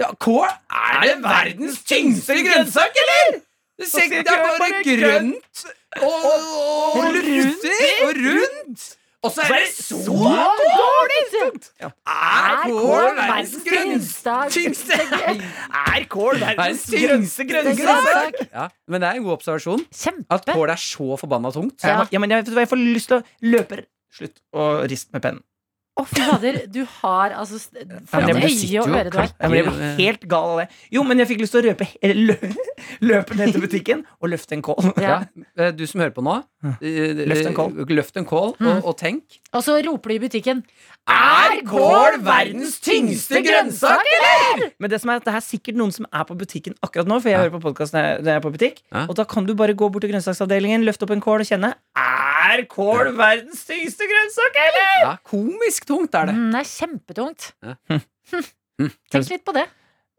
S3: Ja, kål er det verdens tyngste grønnsak, eller? Du ser ikke, det er bare grønt og, og luftig og rundt. Og så er det så dårlig! Er kål verdens grønnste tyngste
S8: Er kål
S3: Verdens tyngste grønnsak? Ja, men det er en god observasjon. At
S2: Kjempe.
S3: kål er så forbanna tungt.
S8: Ja, ja, men jeg, vet du hva, jeg får lyst til å løpe Slutt å riste med pennen.
S2: Å, fy fader, du har altså s- For
S8: men
S2: et
S8: du
S2: øye og øre du har.
S8: Jeg ble helt gal av det. Jo, men jeg fikk lyst til å røpe, eller lø, løpe ned til butikken og løfte en kål.
S2: Ja.
S3: Eh, Du som hører på nå, eh,
S8: Løft en kål.
S3: løft en kål og, og tenk.
S2: Og så roper du i butikken
S3: Mm. Er kål verdens tyngste grønnsak,
S8: Men det som er at det er sikkert noen som er på butikken akkurat nå, for jeg hører på podkast når jeg- når jeg er på butikk.
S3: Ja.
S8: Og da kan du bare gå bort til grønnsaksavdelingen, løfte opp en kål og kjenne. Er kål verdens tyngste grønnsak, eller?
S3: Ja, komisk tungt er det.
S2: mm, Det er kjempetungt.
S3: Ja.
S2: Hm. Tenk litt på det.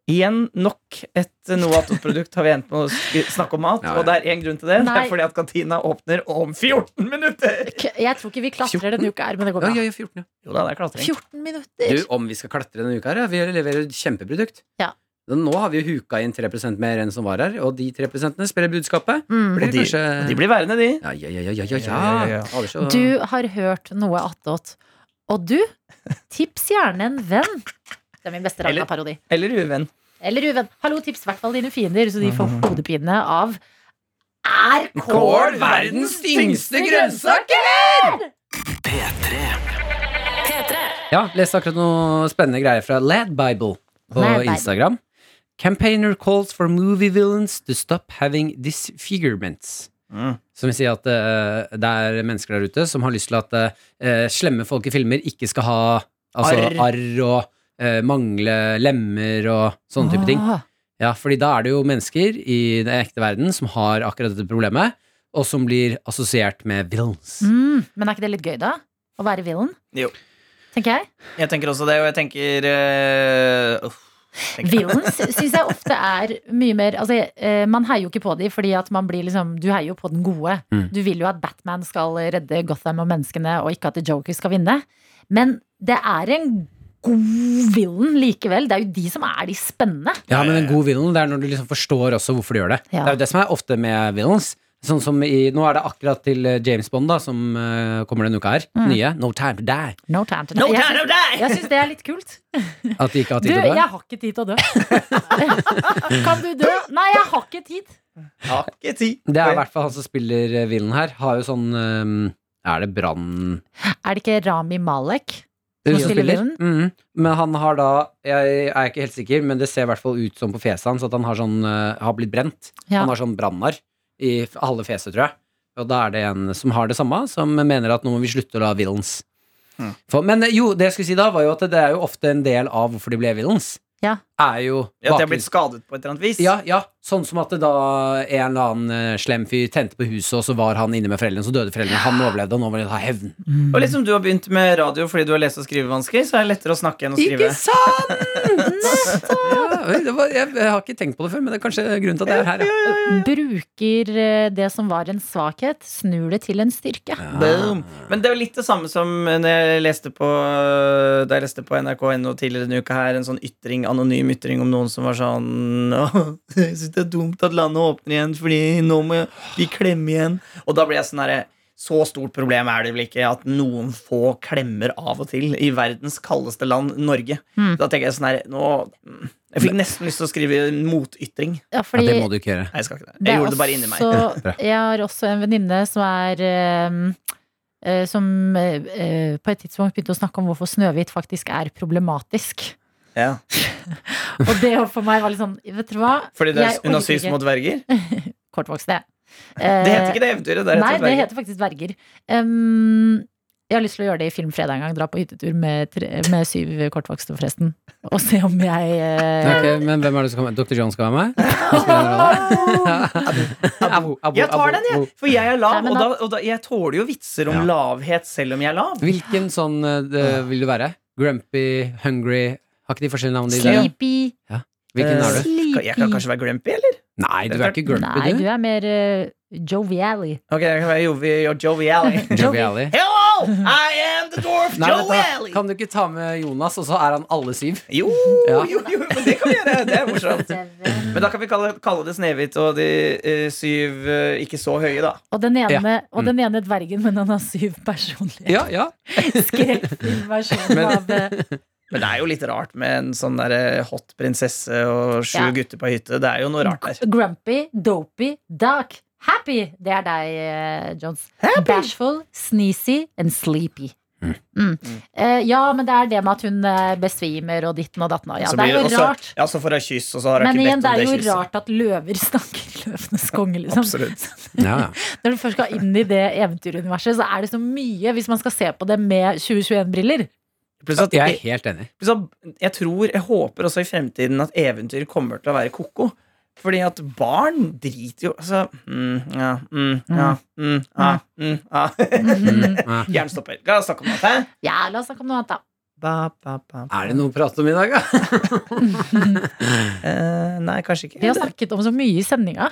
S8: Igjen nok et Noatot-produkt har vi endt med å sk- snakke om mat,
S3: Ja, ja.
S8: og det er én grunn til det. Det
S2: Nei.
S8: er fordi at kantina åpner om 14 minutter!
S2: K- Jeg tror ikke vi klatrer denne uka her, men det går
S3: Ja,
S2: bra.
S3: ja, ja, 14, ja.
S8: Jo da, det er klatring.
S2: 14 minutter.
S3: Du, om vi skal klatre denne uka her, ja, vi leverer et kjempeprodukt.
S2: Ja.
S3: Nå har vi jo huka inn 3 mer enn som var her, og de 3 spiller budskapet.
S2: Mm.
S3: Blir
S8: Og de-
S3: kanskje-
S8: og de blir værende, de.
S3: Ja, ja, ja, ja, ja,
S9: Ja,
S3: ja,
S9: ja,
S3: ja.
S9: ja.
S3: Aldri
S8: Mm.
S3: så-
S2: Du har hørt noe attåt. Og du, tips gjerne en venn. Det er min beste
S8: Eller-
S2: Ragna-parodi.
S8: Eller uvenn. Mm.
S2: Eller uvenn. Hallo, tips i hvert fall dine fiender, så de får hodepine av Er
S3: Kål verdens tyngste grønnsak,
S2: eller?!
S3: Ja, leste akkurat noe spennende greier fra Lad Bible på
S2: Lad Bible.
S3: Instagram. Campaigner calls for movie villains to stop having disfigurements.
S8: Mm.
S3: Som vil si at eh, det er mennesker der ute som har lyst til at eh, slemme folk i filmer ikke skal ha altså, arr.
S8: Arr.
S3: og eh, mangle lemmer og sånne
S8: Ah.
S3: type ting.
S2: Åh.
S3: Ja, fordi da er det jo mennesker i den ekte verden som har akkurat dette problemet, og som blir assosiert med villains.
S2: Mm. Men er ikke det litt gøy, da? Å være villen?
S8: Jo.
S2: Tenker jeg.
S8: Jeg tenker også det, og jeg tenker eh, uff, tenker jeg.
S2: Villains syns jeg ofte er mye mer altså, eh, Man heier jo ikke på de fordi at man blir liksom Du heier jo på den gode.
S3: Mm.
S2: Du vil jo at Batman skal redde Gotham og menneskene, og ikke at The Joker skal vinne. Men det er en god villain likevel. Det er jo de som er de spennende.
S3: Ja, men en god villain det er når du liksom forstår også hvorfor du gjør det.
S2: Ja.
S3: Det er jo det som er ofte med villains. Sånn som i, Nå er det akkurat til eh, James Bond, da, som eh, kommer denne uka her.
S8: Mm.
S3: Nye. No time to die.
S2: No time to die.
S8: No
S2: Jeg
S8: time to
S2: syns-
S8: die!
S2: Jeg syns det er litt kult.
S3: At de ikke har
S2: Du,
S3: tid til å dø.
S2: jeg har ikke tid til å dø. kan du dø? Nei, jeg har ikke tid.
S8: Har ikke tid.
S3: Det er i hvert fall han som spiller eh, villain her. Har jo sånn eh, Er det Brann
S2: Er det ikke Rami Malek?
S3: som
S2: spiller villain?
S3: Mhm. Men han har da Jeg er ikke helt sikker, men det ser i hvert fall ut som på fjeset hans at han har, sånn, eh, har blitt brent.
S2: Ja.
S3: Han har sånn brannar i f- halve fjeset, tror jeg. Og da er det en som har det samme, som mener at nå må vi slutte å la villains. For, men eh, jo, det jeg skulle si da, var jo at det er jo ofte en del av hvorfor de ble villains.
S2: Ja.
S3: Er jo
S8: At jeg har
S3: bakgrunns-
S8: blitt skadet på et eller annet vis.
S3: ja, ja, sånn som at det da en eller annen eh, slem fyr tente på huset, og så var han inne med foreldrene, så døde foreldrene, han overlevde, og nå vil han ha hevn.
S8: Og liksom du har begynt med radio fordi du har lese- og skrivevansker, så er det lettere å snakke enn å skrive.
S3: sant? Ja, oi, det var, jeg, jeg har ikke tenkt på det før, men det er kanskje grunnen til at det er her. Ja.
S2: Bruker eh, det som var en svakhet, snur det til en styrke.
S3: Ah.
S8: Boom. Men det er jo litt det samme som når jeg leste på, da jeg leste på nrk.no tidligere denne uka her, en sånn ytring, anonym ytring om noen som var sånn «Åh, Jeg syns det er dumt at landet åpner igjen, fordi nå må vi klemme igjen. Og da ble jeg sånn herre så stort problem er det vel ikke at noen få klemmer av og til i verdens kaldeste land, Norge.
S2: Mm.
S8: Da tenker jeg sånn her nå, Jeg fikk nesten lyst til å skrive en motytring.
S2: Ja, fordi
S3: det må du ikke gjøre.
S8: Nei, jeg skal ikke det.
S2: det
S8: Jeg
S2: er
S8: gjorde det bare inni meg.
S2: også-
S3: Bra.
S2: Jeg har også en venninne som er eh, eh, Som eh, eh, på et tidspunkt begynte å snakke om hvorfor Snøhvit faktisk er problematisk.
S8: Ja.
S2: Og det for meg var litt sånn Vet du hva?
S8: Fordi det er,
S2: Jeg
S8: hun har
S2: orker
S8: syns
S2: ikke.
S8: mot dverger?
S2: Kortvokste. Eh,
S8: Det heter ikke det eventyret. Det er
S2: Nei,
S8: rett og slett
S2: det
S8: dverger.
S2: heter faktisk dverger. Um, jeg har lyst til å gjøre det i Filmfredag en gang. Dra på hyttetur med, tre, med syv kortvokste, forresten. Og se om jeg eh,
S3: Ok, men hvem er det som kommer? Dr. John skal være med? Han spiller en rolle. Abo, abo,
S8: Jeg tar
S3: abo,
S8: den, jeg.
S3: abo.
S8: For jeg er lav,
S2: Nei, men
S8: og,
S2: da-
S8: da, og da, jeg tåler jo vitser om
S3: Ja.
S8: lavhet selv om jeg er lav.
S3: Hvilken sånn eh, det, vil du være? Grumpy, hungry Har ikke de forskjellige navn? De der?
S2: Sleepy,
S3: Hvilken er du?
S8: Kan- Jeg kan
S2: sleepy.
S8: kanskje være grumpy, eller?
S3: Nei, du er ikke
S2: Nei,
S3: grumpy,
S2: du
S3: du.
S2: er mer eh, jovially.
S8: Ok, jeg kan være Jovi og Jovi Alley.
S3: Jovially.
S8: Hello, I am the dwarf
S3: Nei, vent
S8: Joey
S3: da.
S8: Alley!
S3: Kan du ikke ta med Jonas, og så er han alle syv?
S8: Jo,
S3: Ja.
S8: jo, jo, men det kan vi gjøre. Det er morsomt. Men da kan vi kalle, kalle det Snehvit og de eh, syv eh, ikke så høye, da.
S2: Og den ene,
S3: Ja.
S2: og den
S8: Mm.
S2: ene dvergen, men han har syv personlige
S3: Ja, ja.
S2: skrekkfilmversjoner
S3: Men-
S2: av eh,
S8: Men det er jo litt rart med en sånn der eh, hot prinsesse og sju
S2: Ja.
S8: gutter på hytte. Det er jo noe rart der.
S2: Grumpy, dopey, dark, happy. Det er deg, eh, Jones. Bashful, sneezy and sleepy. Mm. Eh, ja, men det er det med at hun eh, besvimer og ditten og datten. og- Ja,
S8: Så
S2: det
S8: blir
S2: er
S8: det
S2: jo
S8: også-
S2: rart.
S8: Ja, så får jeg kyss, og så har jeg
S2: Men
S8: ikke
S2: igjen,
S8: bedt
S2: det er
S8: om det
S2: jo
S8: kysset.
S2: rart at løver snakker løvenes konge, liksom.
S8: Absolutt.
S3: ja, ja.
S2: Når du først skal inn i det eventyruniverset, så er det så mye hvis man skal se på det med 2021-briller.
S8: Pluss at
S3: Jeg er helt enig.
S8: Så jeg tror, jeg håper også i fremtiden at eventyr kommer til å være koko. Fordi at barn driter jo Altså mm, ja, mm, ja, mm, ja, mm, ja.
S3: Mm, ja.
S8: Jernstopper. La oss snakke om det.
S2: Ja, la oss snakke om noe annet, da.
S8: Ba, ba, ba.
S3: Er det noe å prate om i dag, da?
S8: Eh, nei, kanskje
S2: Vi
S8: ikke.
S2: har snakket om så mye i sendinga.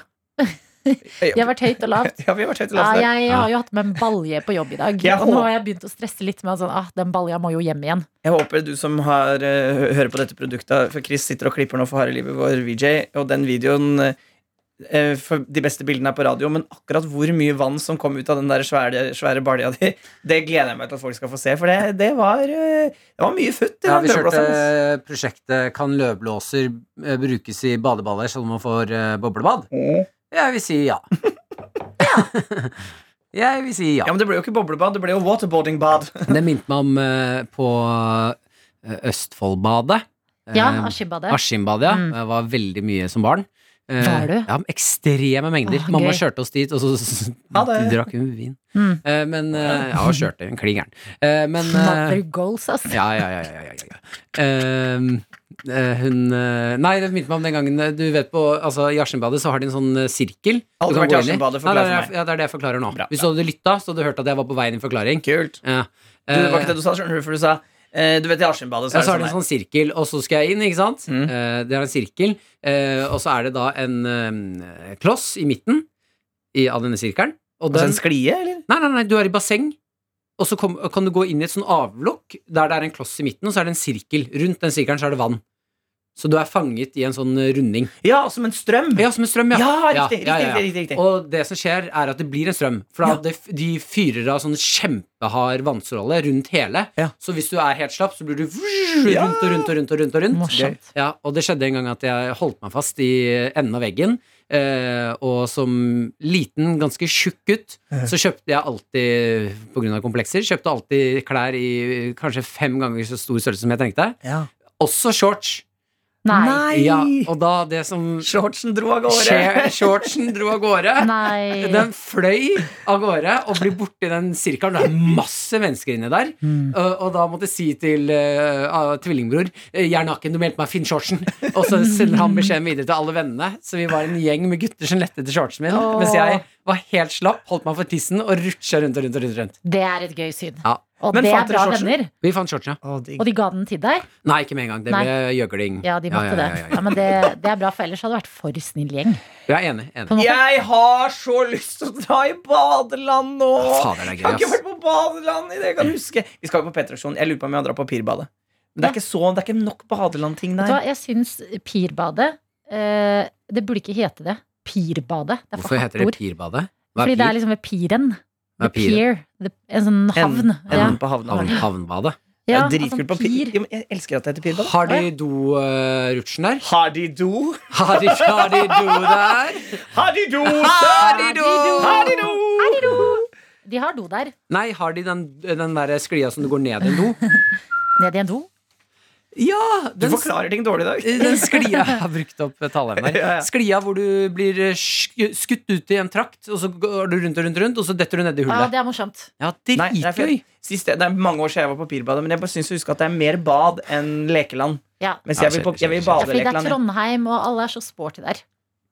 S2: Jeg har vært høyt og lavt.
S8: Ja, vi har vært høyt og
S2: Ah, Ja,
S8: lavt der.
S2: jeg har jo hatt med en balje på jobb i dag.
S8: Jeg
S2: Og nå
S8: håper-
S2: har jeg begynt å stresse litt med at sånn, ah, den balja må jo hjem igjen.
S8: Jeg håper du som har, eh, hø- hører på dette produktet For Chris sitter og klipper nå for harde livet vår VJ, og den videoen eh, eh, for De beste bildene er på radio, men akkurat hvor mye vann som kom ut av den der svære, svære balja di, det gleder jeg meg til at folk skal få se, for det, det, var, eh, det var mye futt. i
S3: Ja,
S8: den
S3: vi kjørte
S8: dørblåseren, ass.
S3: prosjektet 'Kan løvblåser eh, brukes i badeballer så man får eh, boblebad'?
S8: Mm.
S3: Jeg vil si ja. ja. Jeg vil si ja.
S8: Ja, men det ble jo ikke boblebad, det ble jo waterboardingbad.
S3: Det minte meg om eh, på eh, Østfoldbadet.
S2: Ja,
S3: Eh,
S2: Askibbadet.
S3: Askimbadet, ja.
S2: Mm.
S3: Jeg var veldig mye som barn. Eh,
S2: Var du?
S3: Ja, men Ekstreme mengder.
S2: Åh,
S3: Mamma
S2: gøy.
S3: kjørte oss dit, og så s-
S8: Ha det.
S3: drakk hun vin.
S2: Mm.
S3: Eh, men eh, Ja, og kjørte. Klin gæren. Eh, men eh,
S2: Mother goals, ass.
S3: ja, ja, ja, ja, ja, ja, ja. Ehm, eh, hun eh, Nei, det minte meg om den gangen eh, Du vet på, altså I Askimbadet så har de en sånn eh, sirkel.
S8: Aldri
S3: du kan
S8: vært i
S3: gå inn
S8: Askimbadet,
S3: Nei,
S8: forklar
S3: nei,
S8: for
S3: nei, Ja, det er det jeg forklarer nå.
S8: Bra, bra.
S3: Hvis du hadde lytta, så hadde du hørt at jeg var på vei inn i forklaring.
S8: Kult.
S3: Ja.
S8: Du, det var ikke det du sa, skjønner du, for du sa eh, Du vet, i Askimbadet
S3: Ja,
S8: så er
S3: så er
S8: det sånn
S3: det
S8: her.
S3: en sånn sirkel, og så skal jeg inn, ikke sant?
S8: Mm.
S3: Eh, det er en sirkel, eh, og så er det da en eh, kloss i midten i, av denne sirkelen. Og
S8: Altså
S3: den,
S8: en sklie, eller?
S3: nei, nei, nei, du er i basseng, og så kom, kan du gå inn i et sånn avlukk der det er en kloss i midten, og så er det en sirkel. Rundt den sirkelen så er det vann. Så du er fanget i en sånn eh, runding.
S8: Ja, som en strøm.
S3: Ja, som en strøm,
S8: Ja,
S3: ja.
S8: riktig,
S3: ja, ja, ja.
S8: riktig, riktig, riktig.
S3: Og det som skjer, er at det blir en strøm. For da
S8: Ja.
S3: det, de fyrer av sånn kjempehard vannstråle rundt hele.
S8: Ja.
S3: Så hvis du er helt slapp, så blir du vrrr,
S8: Ja.
S3: rundt og rundt og rundt. Og rundt og rundt
S2: Morsomt.
S3: Ja, og det skjedde en gang at jeg holdt meg fast i enden av veggen. Eh, og som liten, ganske tjukk gutt, så kjøpte jeg alltid, pga. komplekser, kjøpte alltid klær i eh, kanskje fem ganger så stor størrelse som jeg trengte.
S8: Ja.
S3: Også shorts.
S2: Nei.
S3: Ja, og da det som
S8: Shortsen dro
S3: skjer
S8: av gårde.
S3: Shortsen dro av gårde.
S2: Nei.
S3: Den fløy av gårde og blir borti den sirkelen. Det er masse mennesker inni der.
S2: Mm.
S3: Og, og da måtte jeg si til eh, ah, tvillingbror eh, 'Jeg er naken, du må hjelpe meg å finne shortsen'. Og så sender han beskjeden videre til alle vennene. Så vi var en gjeng med gutter som lette etter shortsen min.
S2: Åh.
S3: Mens jeg var helt slapp, holdt meg for tissen og rutsja rundt og rundt. og rundt, og rundt.
S2: Det er et gøy syn.
S3: Ja.
S2: Og
S8: Men
S2: det er
S8: fant dere
S2: bra
S8: shortsen?
S2: venner.
S3: Vi fant shortsen, ja.
S8: Å, digg.
S2: Og de ga den til deg?
S3: Nei, ikke med en gang. Det ble gjøgling.
S2: Ja, de måtte
S3: ja, ja,
S2: det.
S3: ja,
S2: Ja, men det, det er bra, for ellers hadde det vært for snill gjeng.
S3: ja. Jeg er enig. enig.
S2: På en måte.
S8: Jeg har så lyst til å dra i badeland nå!
S3: Å, fader, det er
S8: jeg
S3: gøy,
S8: har ikke
S3: ass.
S8: vært på badeland i det jeg kan huske. Vi skal jo på P-traksjon. Jeg lurer på om jeg har dratt på Pirbadet. Men det er ikke, så, det er ikke nok
S2: Vet
S8: badeland-ting
S2: du
S8: der.
S2: hva, jeg syns Pirbadet eh, Det burde ikke hete det. Pirbadet. Det er for
S3: Hvorfor heter det
S2: hardt ord.
S3: Pirbadet? Hva
S2: Fordi
S3: er
S2: det er
S3: pir?
S2: liksom ved piren.
S3: Hva
S2: The
S3: er pir?
S2: pier. The, en sånn havn.
S8: Enden- enden på havna.
S3: Havn- Havnbadet?
S2: Ja,
S8: Det er
S2: altså
S8: dritkult på
S2: pir.
S8: pir. Ja, men Jeg elsker at det heter Pirbadet.
S3: Har de do-rutsjen der?
S8: Har de do?
S3: Har de, har de do der?
S8: Har de do?
S3: Har de do?
S8: Har de do?
S2: De har do der.
S3: Nei, har de den, den der sklia som du går ned i en do?
S2: Ned i en do.
S3: Ja!
S8: Du
S3: Den, Eh,
S8: forklarer ting dårlig i dag.
S3: den sklia Jeg har brukt opp taleevnen
S8: Ja, ja.
S3: her. Sklia hvor du blir eh, sk- skutt ut i en trakt, og så går du rundt og rundt, og rundt og så detter du nedi
S2: Ja,
S3: hullet.
S2: det er morsomt.
S3: Ja,
S8: Nei, det, er for-
S3: dritgøy!
S8: sist, det er mange år siden jeg var på Pirbadet, men jeg bare syns å huske at det er mer bad enn lekeland.
S2: Ja.
S8: Mens
S3: Ja,
S8: jeg vil, på,
S3: skjønner,
S8: jeg vil
S3: skjønner,
S2: Ja, fordi det er
S8: badelekeland.
S2: Trondheim, og alle er så sporty der.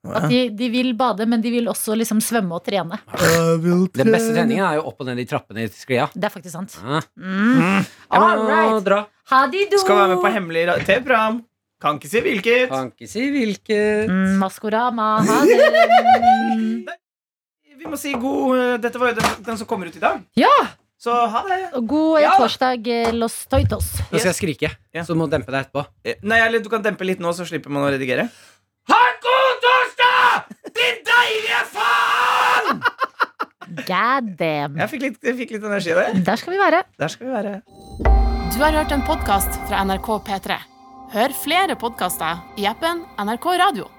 S8: Ja.
S2: At de, de vil bade, men de vil også liksom svømme og trene.
S3: Den beste treningen er jo opp og ned i trappene i sklia.
S2: Det er faktisk sant.
S3: Ja.
S2: Mm.
S3: Jeg må
S2: All right.
S3: dra.
S2: Ha det, do!
S8: Skal være med på hemmelig ra- TV-program. Kan ikke si hvilket.
S3: Kan ikke si hvilket
S2: Mm, Maskorama. Ha det.
S8: Vi må si god eh, Dette var jo den, den som kommer ut i dag.
S2: Ja!
S8: Så ha det.
S2: Og God eh,
S8: Ja.
S2: torsdag, eh, Los Toitos.
S3: Nå skal jeg skrike,
S8: Ja.
S3: så du må dempe deg etterpå.
S8: Eh, Nei, eller Du kan dempe litt nå, så slipper man å redigere.
S2: God damn.
S8: Jeg fikk litt, jeg fikk litt energi av det.
S2: Der skal vi være.
S8: Der skal vi være.
S1: Du har hørt en podkast fra NRK P3. Hør flere podkaster i appen NRK Radio.